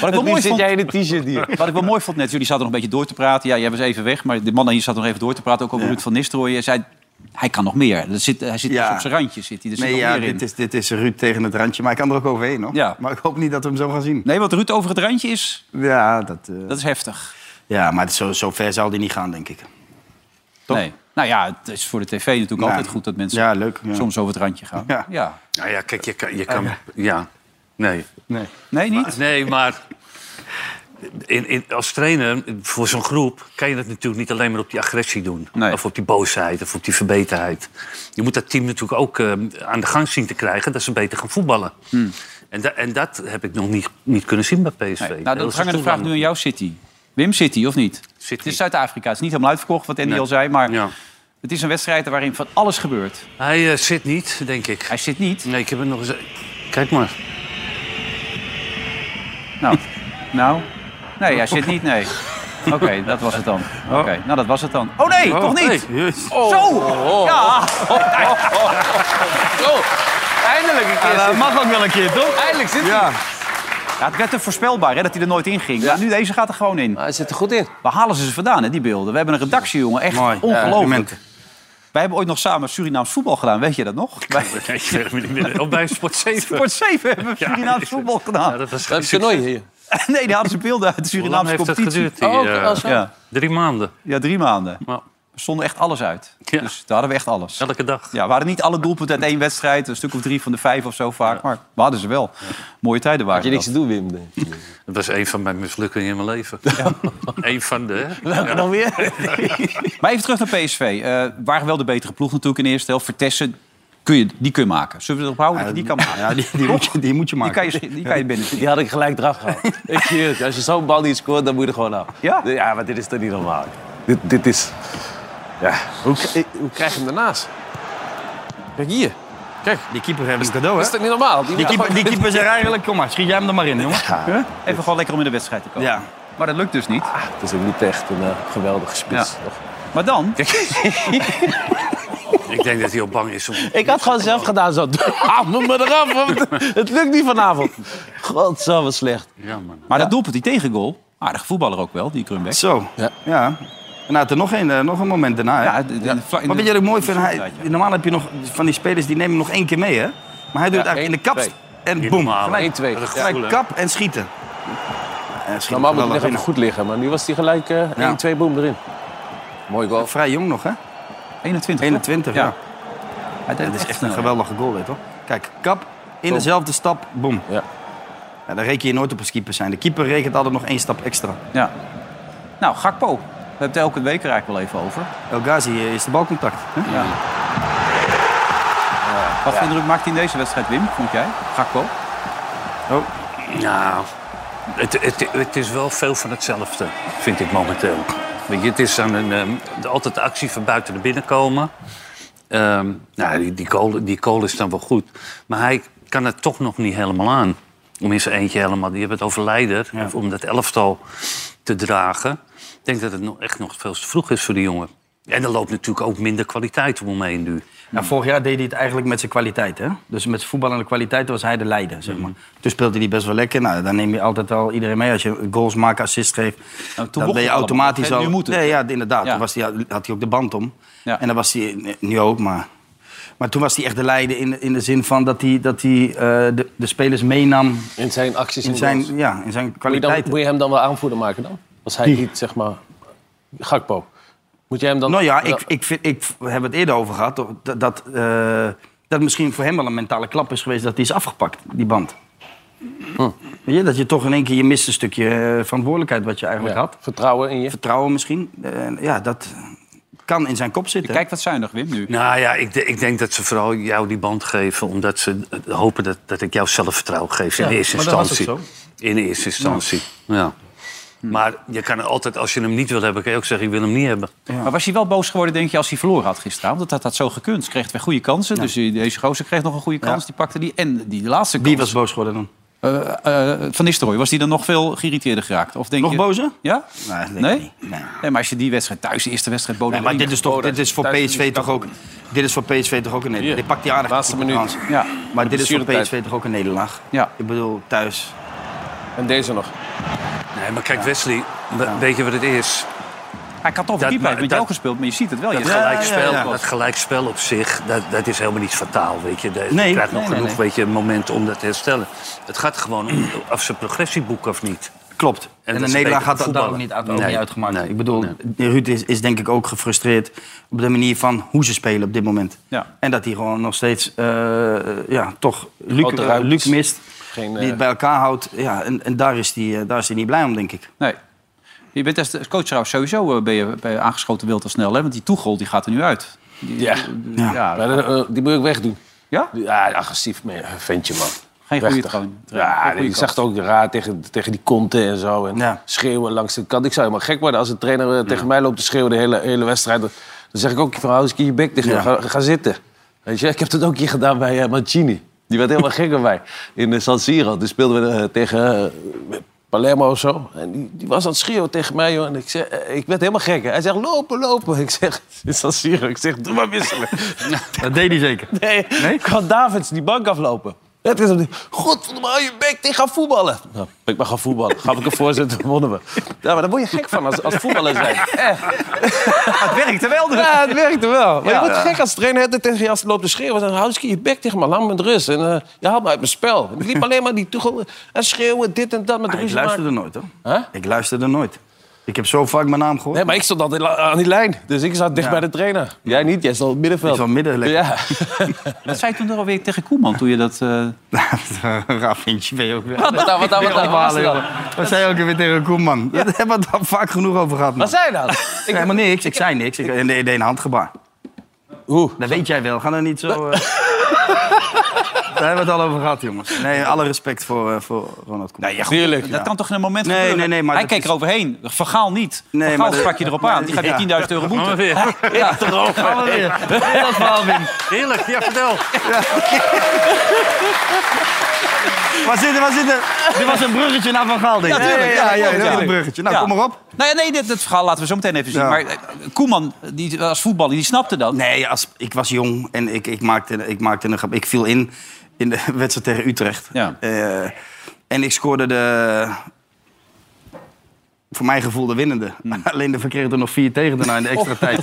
Wat ik, wel
Nu
mooi
zit
vond,
jij in een t-shirt hier.
wat ik wel mooi vond net, jullie zaten nog een beetje door te praten. Ja, jij was even weg, maar de mannen hier zaten nog even door te praten. Ook over Ruud van Nistelrooy. Hij zei, hij kan nog meer. Er zit, hij zit
Ja.
dus op zijn randje. Zit hij. Er zit
Nee,
nog
ja,
meer in.
dit is, dit is Ruud tegen het randje. Maar ik kan er ook overheen, hoor.
Ja.
Maar ik hoop niet dat we hem zo gaan zien.
Nee, wat Ruud over het randje is,
Ja, dat, eh,
dat is heftig.
ja maar het is zo, zo ver zal die niet gaan, denk ik. Toch?
Nee. Nou ja, het is voor de tv natuurlijk
Ja.
altijd goed dat mensen
Ja, leuk. Ja.
soms over het randje gaan.
Ja.
ja.
Nou ja, kijk, je kan... Je
Eh,
kan ja, nee.
Nee.
Nee, niet?
Nee, maar in, in, als trainer voor zo'n groep kan je dat natuurlijk niet alleen maar op die agressie doen.
Nee.
Of op die boosheid, of op die verbeterheid. Je moet dat team natuurlijk ook eh, aan de gang zien te krijgen dat ze beter gaan voetballen. En, da- en dat heb ik nog niet, niet kunnen zien bij PSV.
Nee, Nou,
Heel
dat hangt de
seizoen
vraag
lang.
nu aan jou, City. Wim City, of niet?
City.
Het is Zuid-Afrika. Het is niet helemaal uitverkocht, wat Andy
Nee.
al zei. Maar
Ja.
het is een wedstrijd waarin van alles gebeurt.
Hij eh, zit niet, denk ik.
Hij zit niet.
Nee, ik heb het nog eens... Kijk maar.
Nou, nou. Nee, hij zit niet, nee. Oké, dat was het dan.
Oh.
Oké, nou dat was het dan. Oh nee, toch niet?
Oh.
Zo! Ja!
Eindelijk een keer.
dat mag ook wel een keer, toch?
Eindelijk zit hij.
Ja.
ja! Het werd te voorspelbaar hè, dat hij er nooit in ging. Maar nu deze gaat er gewoon in.
Maar hij zit er goed in.
Waar halen ze ze vandaan, hè, die beelden? We hebben een redactie, jongen. Echt
Mooi.
ongelooflijk.
Complimenten.
Wij hebben ooit nog samen Surinaams voetbal gedaan, weet je dat nog? Bij
Op bij Sport 7.
Sport 7 hebben we Surinaams voetbal gedaan.
Ja, dat was
We hebben toernooi hier.
Nee, die hadden ze beelden uit de
Hoe lang
Surinaamse
heeft dat
competitie.
geduurd? Die,
Oh,
eh,
oh, zo.
ja.
Drie maanden.
ja, drie maanden.
Nou,
We stonden echt alles uit.
Ja.
Dus daar hadden we echt alles. Ja,
elke dag.
we hadden niet alle doelpunten uit één wedstrijd. Een stuk of drie van de vijf of zo vaak. Maar we hadden ze wel. Mooie tijden
Had je
waren
niks
dat.
te doen, Wim?
Dat was een van mijn mislukkingen in mijn leven. Eén van de. hè?
Welke dan weer?
Maar even terug naar PSV. Eh waren wel de betere ploeg natuurlijk in de eerste helft. Vertessen kun je, die kun je maken. Zullen we erop houden dat je die kan maken?
Ja, die, die moet je, die moet je maken.
Die kan je, die kan je binnen.
Die had ik gelijk eraf gehad. ik zie het. Als je zo'n bal niet scoort, dan moet je er gewoon af.
Ja?
Ja, maar dit is toch niet normaal. Dit, dit is... Ja. Hoe, k- hoe krijg je hem daarnaast? Kijk hier. Kijk.
Die keeper hebben een cadeau,
Dat
hè?
is toch niet normaal?
Die keeper, die keeper zegt eigenlijk, kom maar, schiet jij hem er maar in, jongen. Huh?
Even gewoon lekker om in de wedstrijd te komen.
Ja.
Maar dat lukt dus niet.
Ah, Het is ook niet echt een eh, geweldige spits.
Ja. Maar dan...
Ik denk dat hij al bang is om...
Ik had gewoon zelf gedaan zo. Haal me maar eraf. want Het lukt niet vanavond. God, zo wat slecht.
Ja, man.
Maar dat doelpunt, die tegengoal... Aardige voetballer ook wel, die Krumbeck.
Zo,
Ja.
ja. En hij had er nog een, eh, nog een moment daarna, hè?
Ja, de- de- de- in
Maar
de-
weet je wat ik mooi vind? Hij-
Ja.
normaal heb je nog van die spelers die nemen hem nog één keer mee, hè? Maar hij doet
Ja,
eigenlijk in de
één,
kap en boem.
normaal,
Gelijk,
1-2.
gelijk kap en schieten. Ja, schiet
Normaal moet
wel
hij echt
erin.
even goed liggen, maar nu was hij gelijk eh 1-2 boom erin. Mooi goal.
Vrij jong nog, hè?
21.
21, ja.
Ja. Hij deed
Dat is
het
echt
snel,
een
ja.
geweldige goal, weet je toch? Kijk, kap, in dezelfde stap, boem.
Ja.
Ja, dan reken je nooit op als keeper zijn. De keeper rekent altijd nog één stap extra.
Ja. Nou, Gakpo. We hebben het elke week er eigenlijk wel even over.
El Ghazi eh, is de balcontact. hè?
Ja. Wat voor indruk maakt hij in deze wedstrijd, Wim, vond jij? Gakpo?
Oh.
Nou, het, het, het is wel veel van hetzelfde, vind ik momenteel. Weet je, het is aan een, ehm, altijd de actie van buiten naar binnen komen. Ehm, nou, die, die, goal, die goal is dan wel goed. Maar hij kan het toch nog niet helemaal aan. Om in zijn eentje helemaal... Je hebt het over leider, om dat elftal te dragen. Ik denk dat het nog, echt nog veel te vroeg is voor die jongen. En er loopt natuurlijk ook minder kwaliteit om hem heen nu.
Nou, vorig jaar deed hij het eigenlijk met zijn kwaliteit. Hè? Dus met zijn voetballende kwaliteit was hij de leider. Zeg maar. Toen speelde hij best wel lekker. Nou, dan neem je altijd wel iedereen mee. Als je goals maakt, assist geeft,
mocht
dan ben je
Nou, het
automatisch
allemaal.
al...
Nu moet het.
Nee, ja, inderdaad.
Ja.
Toen was hij, had hij ook de band om.
Ja.
En dan was hij, nu ook, maar... Maar toen was hij echt de leider in, in de zin van dat hij, dat hij eh, de, de spelers meenam
In zijn acties
in zijn, ja, in zijn
Moet je, dan,
kwaliteit.
moet je hem dan wel aanvoerder maken dan? Als hij niet, zeg maar... Gakpo. Moet je hem dan...
Nou ja, ik, ik, vind, ik we hebben het eerder over gehad. toch, Dat, dat, eh, dat misschien voor hem wel een mentale klap is geweest dat hij is afgepakt, die band.
Hm.
Weet je, dat je toch in één keer je mist een stukje eh, verantwoordelijkheid wat je eigenlijk
Ja,
had.
Vertrouwen in je.
Vertrouwen misschien. Eh, ja, dat kan in zijn kop zitten.
Kijk wat zuinig, Wim, nu.
Nou ja, ik, de- ik denk dat ze vooral jou die band geven... omdat ze eh, hopen dat, dat ik jou zelfvertrouwen geef in eerste
maar dat was
instantie.
ook
In eerste instantie, ja. Maar je kan altijd, als je hem niet wil hebben... kan je ook zeggen, ik wil hem niet hebben.
Maar was hij wel boos geworden, denk je, als hij verloren had gisteravond? Dat had dat zo gekund. Ze kreeg twee goede kansen. Dus die- deze gozer kreeg nog een goede kans. Die pakte die. En die laatste kans.
Wie was boos geworden dan?
Eh, eh, van Nistelrooy. Was die dan nog veel geïrriteerder geraakt? Of denk
Nog
je...
bozer?
Ja?
Nee, Nou, dat denk ik
Nee?
niet. Nee.
Nee, maar als je die wedstrijd thuis, de eerste wedstrijd... Bodem
Nee, maar dit is, toch, dit is voor
thuis
PSV toch ook... Dit is voor PSV toch ook een nederlaag.
Hier.
Dit pakt die aardig.
Laatste minuut.
kans.
Ja.
Maar dit is voor
blessuretijd.
PSV toch ook een nederlaag.
Ja.
Ik bedoel, thuis.
En deze nog.
Nee, maar kijk, Wesley, we- weet je wat het is?
Hij had toch
Dat-
keeper
maar
met
dat-
jou gespeeld, maar je ziet het wel.
Dat
Je-
gelijkspel,
ja, ja.
dat gelijkspel op zich, dat, dat is helemaal niet fataal, weet je. De- Je
Nee,
krijgt nog
nee, nee,
genoeg
nee.
Weet je, momenten om dat te herstellen. Het gaat gewoon om of ze progressie boeken of niet.
Klopt. En,
dat
de
is
Nederlaag
beter
had dat daar ook
voetballen.
niet, uit,
Nee.
ook niet uitgemaakt. ik bedoel, Ruud is, is denk ik ook gefrustreerd op de manier van hoe ze spelen op dit moment.
Ja.
En dat hij gewoon nog steeds eh, ja, toch Luc,
Grote
eh,
ruimtes.
Luc mist.
Geen, eh,
Die het bij elkaar houdt. Ja, en en daar, is die, eh, daar is hij niet blij om, denk ik.
Nee. Je bent als coach trouwens sowieso eh, ben je, ben je aangeschoten wild al snel, hè? Want die toegol die gaat er nu uit.
Ja.
Ja.
Maar, eh, eh, die moet ik wegdoen.
Ja?
Ja, agressief me- ventje, man.
Geen goede
Prachtig.
trainer. Geen
Ja,
goede
ik zag het ook raar tegen, tegen die konten en zo. En
Ja.
schreeuwen langs de kant. Ik zou helemaal gek worden als een trainer eh, tegen mij loopt te schreeuwen de hele, hele wedstrijd. Dan zeg ik ook van, hou eens een keer je bek dicht.
Ja.
Ga, ga zitten. Weet je, ik heb dat ook een keer gedaan bij eh, Mancini. Die werd helemaal gek bij mij. In eh, San Siro. Toen speelden we eh, tegen eh, Palermo of zo. En die, die was aan het schreeuwen tegen mij. Joh. En ik, zeg, eh, ik werd helemaal gek. hè. Hij zegt, lopen, lopen. Ik zeg, in San Siro. Ik zeg, doe maar wisselen.
Dat deed hij zeker.
Nee, kan Davids die bank aflopen? Het is hem niet. Godverdomme, hou je bek, die gaan voetballen. Nou, ik ben gaan voetballen. Gaf ik een voorzet, dan wonnen we. Ja, maar daar word je gek van als, als voetballer zijn.
Eh.
Echt.
Het werkte wel dus.
Ja, het werkte wel. Maar je wordt gek als trainer het tegen je als het loopt te schreeuwen. Dan hou eens een keer je bek tegen me, laat me met rust. En eh, je haalt me uit mijn spel. En Ik liep alleen maar die toegel en schreeuwen, dit en dat met
Maar ik
ruzie
luisterde
maken.
nooit, hoor.
Huh?
Ik luisterde nooit. Ik heb zo vaak mijn naam gehoord.
Nee, maar ik stond altijd la- aan die lijn. Dus ik zat dicht bij de trainer. Jij niet, jij stond op het middenveld.
Ik zat midden lekker.
Ja.
Dat zei je toen alweer tegen Koeman toen je dat... eh,
Raar ventje ben je ook weer.
Wat dan, wat dan, wat dan? Wat was er dan?
Wat zei je ook weer tegen Koeman? Daar hebben we het al vaak genoeg over gehad. man.
Wat zei je nou? dan?
Ik helemaal niks. Ik zei niks. Ik deed een handgebaar.
Hoe?
Dat weet jij wel. Ga dan niet zo... eh, Daar hebben we het al over gehad, jongens. Nee, alle respect voor, eh, voor Ronald Koeman.
Nee, ja, goed. Dat kan toch in een moment
Nee,
gebeuren?
nee, nee, maar
Hij
dat
keek
is-
eroverheen. Vergaal niet.
Nee,
Van
maar
Gaal
dat-
sprak je erop aan. Die gaat
Ja.
die 10.000 euro boete.
Gaan we weer.
Ja, Gaan we weer.
Dat verhaal, Wim. Heerlijk, ja, vertel.
Waar zit er, waar zit er? Dit was een bruggetje naar Van Gaal, denk ik.
Ja, tuurlijk.
Ja, ja, ja,
dat
dat
klopt,
was
ja.
een bruggetje. Nou,
Ja.
kom maar op.
Nou ja, nee, dit, dit verhaal laten we zo meteen even zien.
Ja.
Maar eh, Koeman, die, als voetballer, die snapte dat.
Nee, als, ik was jong en ik, ik, maakte, ik maakte een grap. Ik viel in in de wedstrijd tegen Utrecht.
Ja.
Eh, en ik scoorde de... Voor mijn gevoel de winnende.
Hmm.
Alleen er verkregen er nog vier tegen daarna in de
Oh.
extra tijd.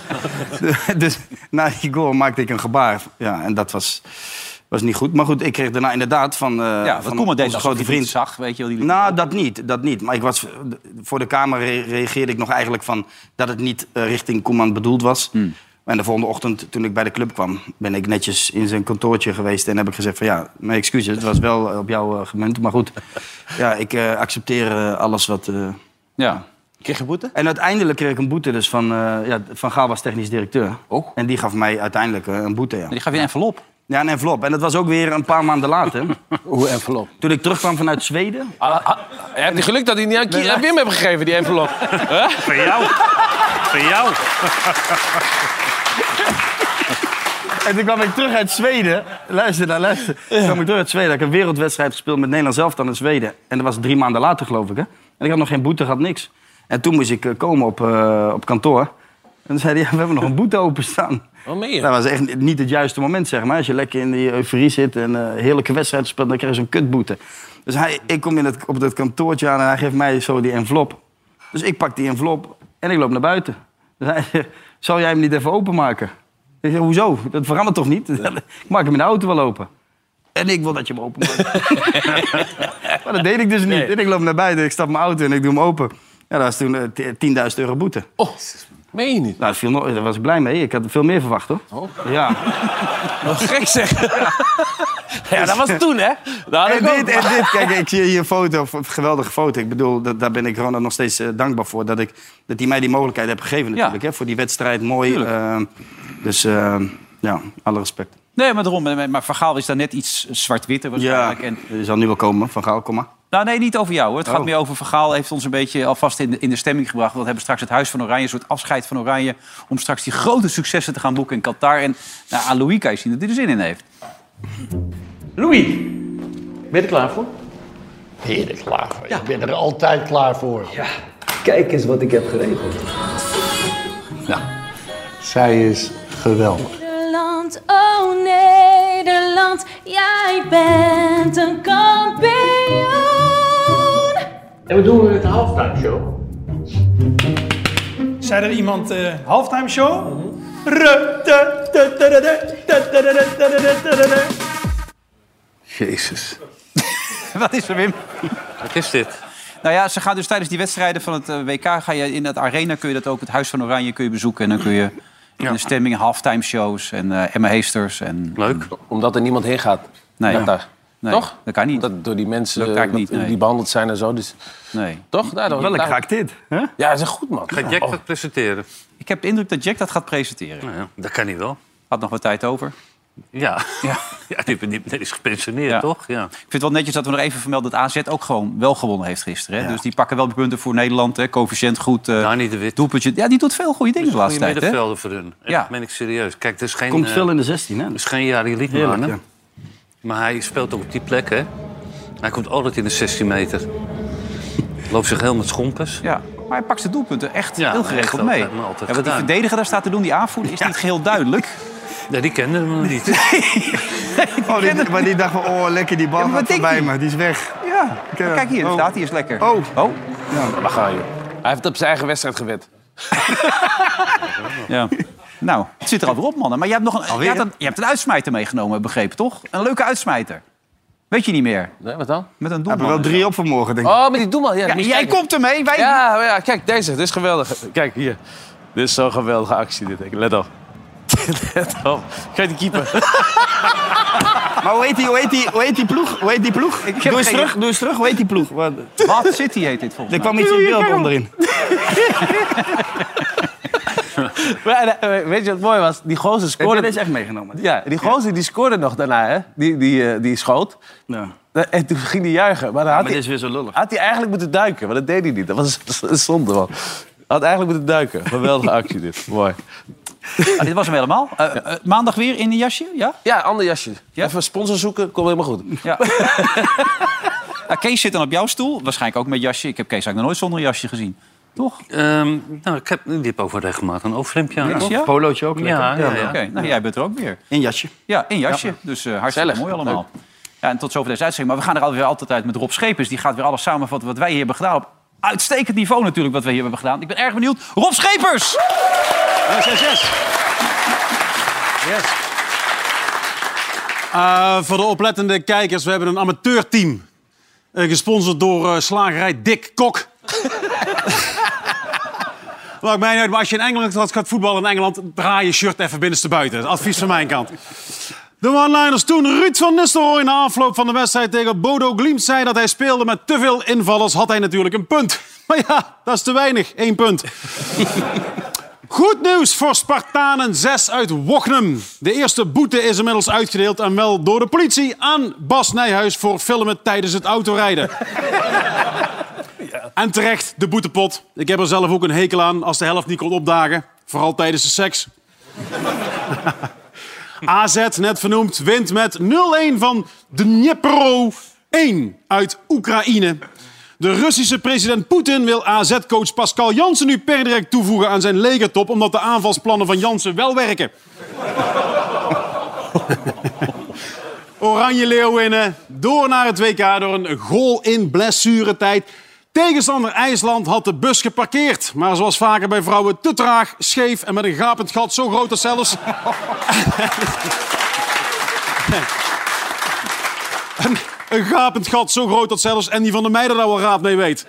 dus na die goal maakte ik een gebaar. Ja, en dat was, was niet goed. Maar goed, ik kreeg daarna inderdaad van, eh
ja, wat
van
Koeman deed
onze
dat
grote vriend...
zag, weet je wel. Die
Nou, dat niet, dat niet. Maar ik was, voor de Kamer re- reageerde ik nog eigenlijk van dat het niet eh, richting Koeman bedoeld was.
Hmm.
En de volgende ochtend, toen ik bij de club kwam, ben ik netjes in zijn kantoortje geweest. En heb ik gezegd van ja, mijn excuses, het was wel eh, op jou eh, gemunt. Maar goed, ja, ik eh, accepteer eh, alles wat... eh,
ja. Kreeg je boete?
en uiteindelijk kreeg ik een boete dus van... eh, ja, van Gaal was technisch directeur. En die gaf mij uiteindelijk eh, een boete, ja.
Oh. Die gaf je een envelop.
Ja, een envelop. En dat was ook weer een paar maanden later.
Hoe envelop?
Toen ik terugkwam vanuit Zweden.
Ah, Hij heeft geluk dat hij niet aan Kier en Wim heeft gegeven, die envelop.
Voor jou. Voor jou.
En toen kwam ik terug uit Zweden. Luister nou, luister. Toen kwam ik terug uit Zweden. Ik heb een wereldwedstrijd gespeeld met Nederland zelf dan in Zweden. En dat was drie maanden later, geloof ik. Hè? En ik had nog geen boete, had niks. En toen moest ik eh, komen op, eh, op kantoor. En toen zei hij, ja, we hebben nog een boete openstaan.
Wat Oh, meen je?
Dat was echt niet het juiste moment, zeg maar. Als je lekker in die euforie zit en eh, een heerlijke wedstrijd speelt... dan krijg je zo'n kutboete. Dus hij, ik kom in het, op dat kantoortje aan en hij geeft mij zo die envelop. Dus ik pak die envelop en ik loop naar buiten. Dus hij zegt, zal jij hem niet even openmaken? Ik zeg, hoezo? Dat verandert toch niet? Ik maak hem in de auto wel open. En ik wil dat je hem openmaakt. maar dat deed ik dus niet. En ik loop naar buiten, ik stap mijn auto en ik doe hem open. Ja, dat was toen eh, 10.000 euro boete.
Oh, meen je niet? Oh.
Nou, dat viel nog- daar was ik blij mee. Ik had veel meer verwacht, hoor. Ja.
Wat gek zeg. Ja, dat was toen, hè? Dat had
En
ik
dit,
ook.
en dit, kijk, ik zie hier een foto, een geweldige foto. Ik bedoel, dat, daar ben ik Ronald nog steeds eh, dankbaar voor. Dat ik dat hij mij die mogelijkheid heeft gegeven natuurlijk. Hè, voor die wedstrijd, mooi. eh, dus eh, ja, alle respect.
Nee, maar daarom. eh, Maar Vergaal is daar net iets zwart-witter
Ja,
waarschijnlijk. En,
die zal nu wel komen, Van Gaal, kom maar.
nou, nee, niet over jou. Hoor. Het gaat
Oh.
meer over Vergaal. heeft ons een beetje alvast in de, in de stemming gebracht. Want we hebben straks het Huis van Oranje, een soort afscheid van Oranje... om straks die grote successen te gaan boeken in Qatar. En nou, aan Louis kan je zien dat hij er zin in heeft.
Louis, ben je er klaar voor? Ben je er klaar voor? Ik ben er altijd klaar voor. Ja. Kijk eens wat ik heb geregeld. Nou, zij is geweldig.
Nederland, oh Nederland, jij bent een kampioen.
En we doen het de halftime show.
Zei er iemand eh halftime show? Ru- te- te- te- te- te- te- te- te- te- te- te- te- te-
Jezus.
Wat is er, Wim?
Wat is dit?
Nou ja, ze gaan dus tijdens die wedstrijden van het eh, WK... Ga je in het arena kun je dat ook, het Huis van Oranje kun je bezoeken. En dan kun je in de stemming halftime shows en eh, Emma Heesters. En,
Leuk.
Omdat er niemand heen gaat.
Nee.
Qatar.
Nee,
Toch?
Dat kan niet.
Dat door die mensen
Lukt eigenlijk
dat-
niet, nee.
die behandeld zijn en zo. Dus,
Nee.
toch? Daar, daar-
Welk
nou-
daar-
raakt dit? Hè?
Ja, dat is goed, man. Oh.
Gaat Jack dat presenteren?
Ik heb de indruk dat Jack dat gaat presenteren.
Nou ja, dat kan hij wel.
Had nog wat tijd over.
Ja. Ja, die, die, die is gepensioneerd,
Ja.
toch? Ja.
Ik vind het wel netjes dat we nog even vermelden dat AZ ook gewoon wel gewonnen heeft gisteren. Hè? Dus die pakken wel punten voor Nederland. Hè? Coëfficiënt goed. eh, Doelpuntje. Ja, die doet veel goede dingen de
Goede
laatste tijd. Hè?
middenvelden voor hun.
Ja.
Dat meen ik serieus. Kijk, het is geen...
Komt
eh,
veel in de 16, hè?
Het is geen Jari Liedman,
Heerlijk,
hè?
ja.
Maar hij speelt ook op die plek, hè? Hij komt altijd in de 16 meter. Loopt zich heel met schompers.
Ja. Maar hij pakt zijn doelpunten echt
Ja,
heel
echt
geregeld
altijd,
mee.
maar altijd
ja, wat die
gedaan.
verdediger daar staat te doen, die aanvoerder, is niet geheel duidelijk.
Ja, die kende hem nog niet.
Oh, die, maar die dacht van, oh, lekker die bal gaat voorbij me. Die is weg.
Ja, maar kijk hier, daar staat hij is lekker.
Oh.
oh.
Waar ga je? Hij heeft op zijn eigen wedstrijd gewet.
Ja. Nou, het zit er alweer op, mannen. Maar je hebt, nog een, je, hebt een, je hebt een uitsmijter meegenomen, begrepen, toch? Een leuke uitsmijter. Weet je niet meer.
Nee, wat dan?
Met een
We hebben
doelman.
wel drie op vanmorgen, denk ik.
Oh, maar die doelman. Ja,
Ja,
die moest
jij
kijken.
komt ermee, wij...
Ja, maar ja, kijk, deze. Dit is geweldig. Kijk, hier. Dit is zo'n geweldige actie. Dit. Let op. Let op. Kijk die keeper.
Maar hoe heet die, hoe heet die, hoe heet die ploeg? Hoe heet die ploeg?
heb
Doe eens
geen-
terug, doe eens terug. Hoe heet die ploeg? Wat-
Wat City heet dit volgens
Er
mij.
kwam iets in beeld onderin.
Maar, eh, Weet je wat mooi was? Die gozer scoorde...
Heb je deze echt meegenomen?
Ja, die gozer die scoorde nog daarna, hè? Die, die, eh, die schoot. Eh, En toen ging hij juichen. Maar, dan had
maar dit
hij,
is weer zo lullig.
Had hij eigenlijk moeten duiken, maar dat deed hij niet. Dat was een zonde, man. Had eigenlijk moeten duiken. Geweldige actie dit. Mooi.
dit was hem helemaal. Eh, eh, maandag weer in een jasje, ja?
Ja, ander jasje. Even sponsor zoeken, komt helemaal goed.
Ja. Nou, Kees zit dan op jouw stoel, waarschijnlijk ook met jasje. Ik heb Kees eigenlijk nog nooit zonder jasje gezien. Toch?
nou, ik heb dit over regelmaat een overhemdje aan.
Niks,
toch?
ja?
Ja, ja, ja.
Oké, nou, jij bent er ook weer.
In jasje.
Ja, in jasje.
Ja.
Dus eh, hartstikke
Gezellig.
mooi allemaal. Ja, en tot zover deze uitzending. Maar we gaan er alweer altijd uit met Rob Schepers. Die gaat weer alles samenvatten wat wij hier hebben gedaan. Op uitstekend niveau natuurlijk wat we hier hebben gedaan. Ik ben erg benieuwd. Rob Schepers!
Succes!
Yes. Eh, voor de oplettende kijkers, we hebben een amateurteam. Eh, gesponsord door eh, slagerij Dick Kok. Maakt mij niet uit, maar als je in Engeland gaat- gaat voetballen in Engeland... draai je shirt even binnenstebuiten. Dat is Advies van mijn kant. De one-liners toen Ruud van Nistelrooy na afloop van de wedstrijd tegen Bodo Glimt zei dat hij speelde met te veel invallers, had hij natuurlijk een punt. Maar ja, dat is te weinig. Eén punt. Goed nieuws voor Spartanen 6 uit Wochnum. De eerste boete is inmiddels uitgedeeld en wel door de politie aan Bas Nijhuis voor filmen tijdens het autorijden. En terecht, de boetepot. Ik heb er zelf ook een hekel aan als de helft niet kon opdagen. Vooral tijdens de seks. AZ, net vernoemd, wint met 0-1 van Dnipro 1 uit Oekraïne. De Russische president Poetin wil AZ-coach Pascal Jansen nu per direct toevoegen aan zijn legertop... omdat de aanvalsplannen van Jansen wel werken. Oranje Leeuwinnen door naar het WK door een goal in blessuretijd. Tegenstander IJsland had de bus geparkeerd. Maar zoals vaker bij vrouwen, te traag, scheef en met een gapend gat zo groot als zelfs... een, een gapend gat zo groot dat zelfs Andy van der Meijden daar wel raad mee weet.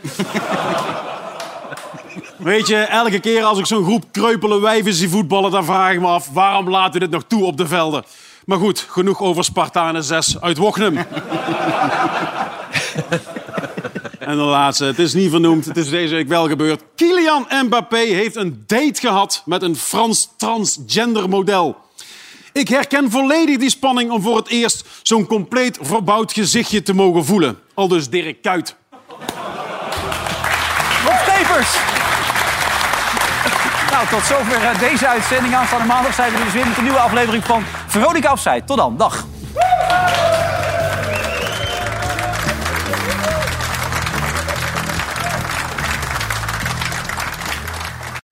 Weet je, elke keer als ik zo'n groep kreupele wijven zie voetballen... dan vraag ik me af, waarom laten we dit nog toe op de velden? Maar goed, genoeg over Spartanen 6 uit Wochnum. en de laatste, het is niet vernoemd, het is deze week wel gebeurd. Kylian Mbappé heeft een date gehad met een Frans transgender model. Ik herken volledig die spanning om voor het eerst zo'n compleet verbouwd gezichtje te mogen voelen. Al dus Dirk Kuyt.
Nou, tot zover eh, deze uitzending. Aanstaande maandag zijn we er dus weer met een nieuwe aflevering van Veronica Offside. Tot dan, dag.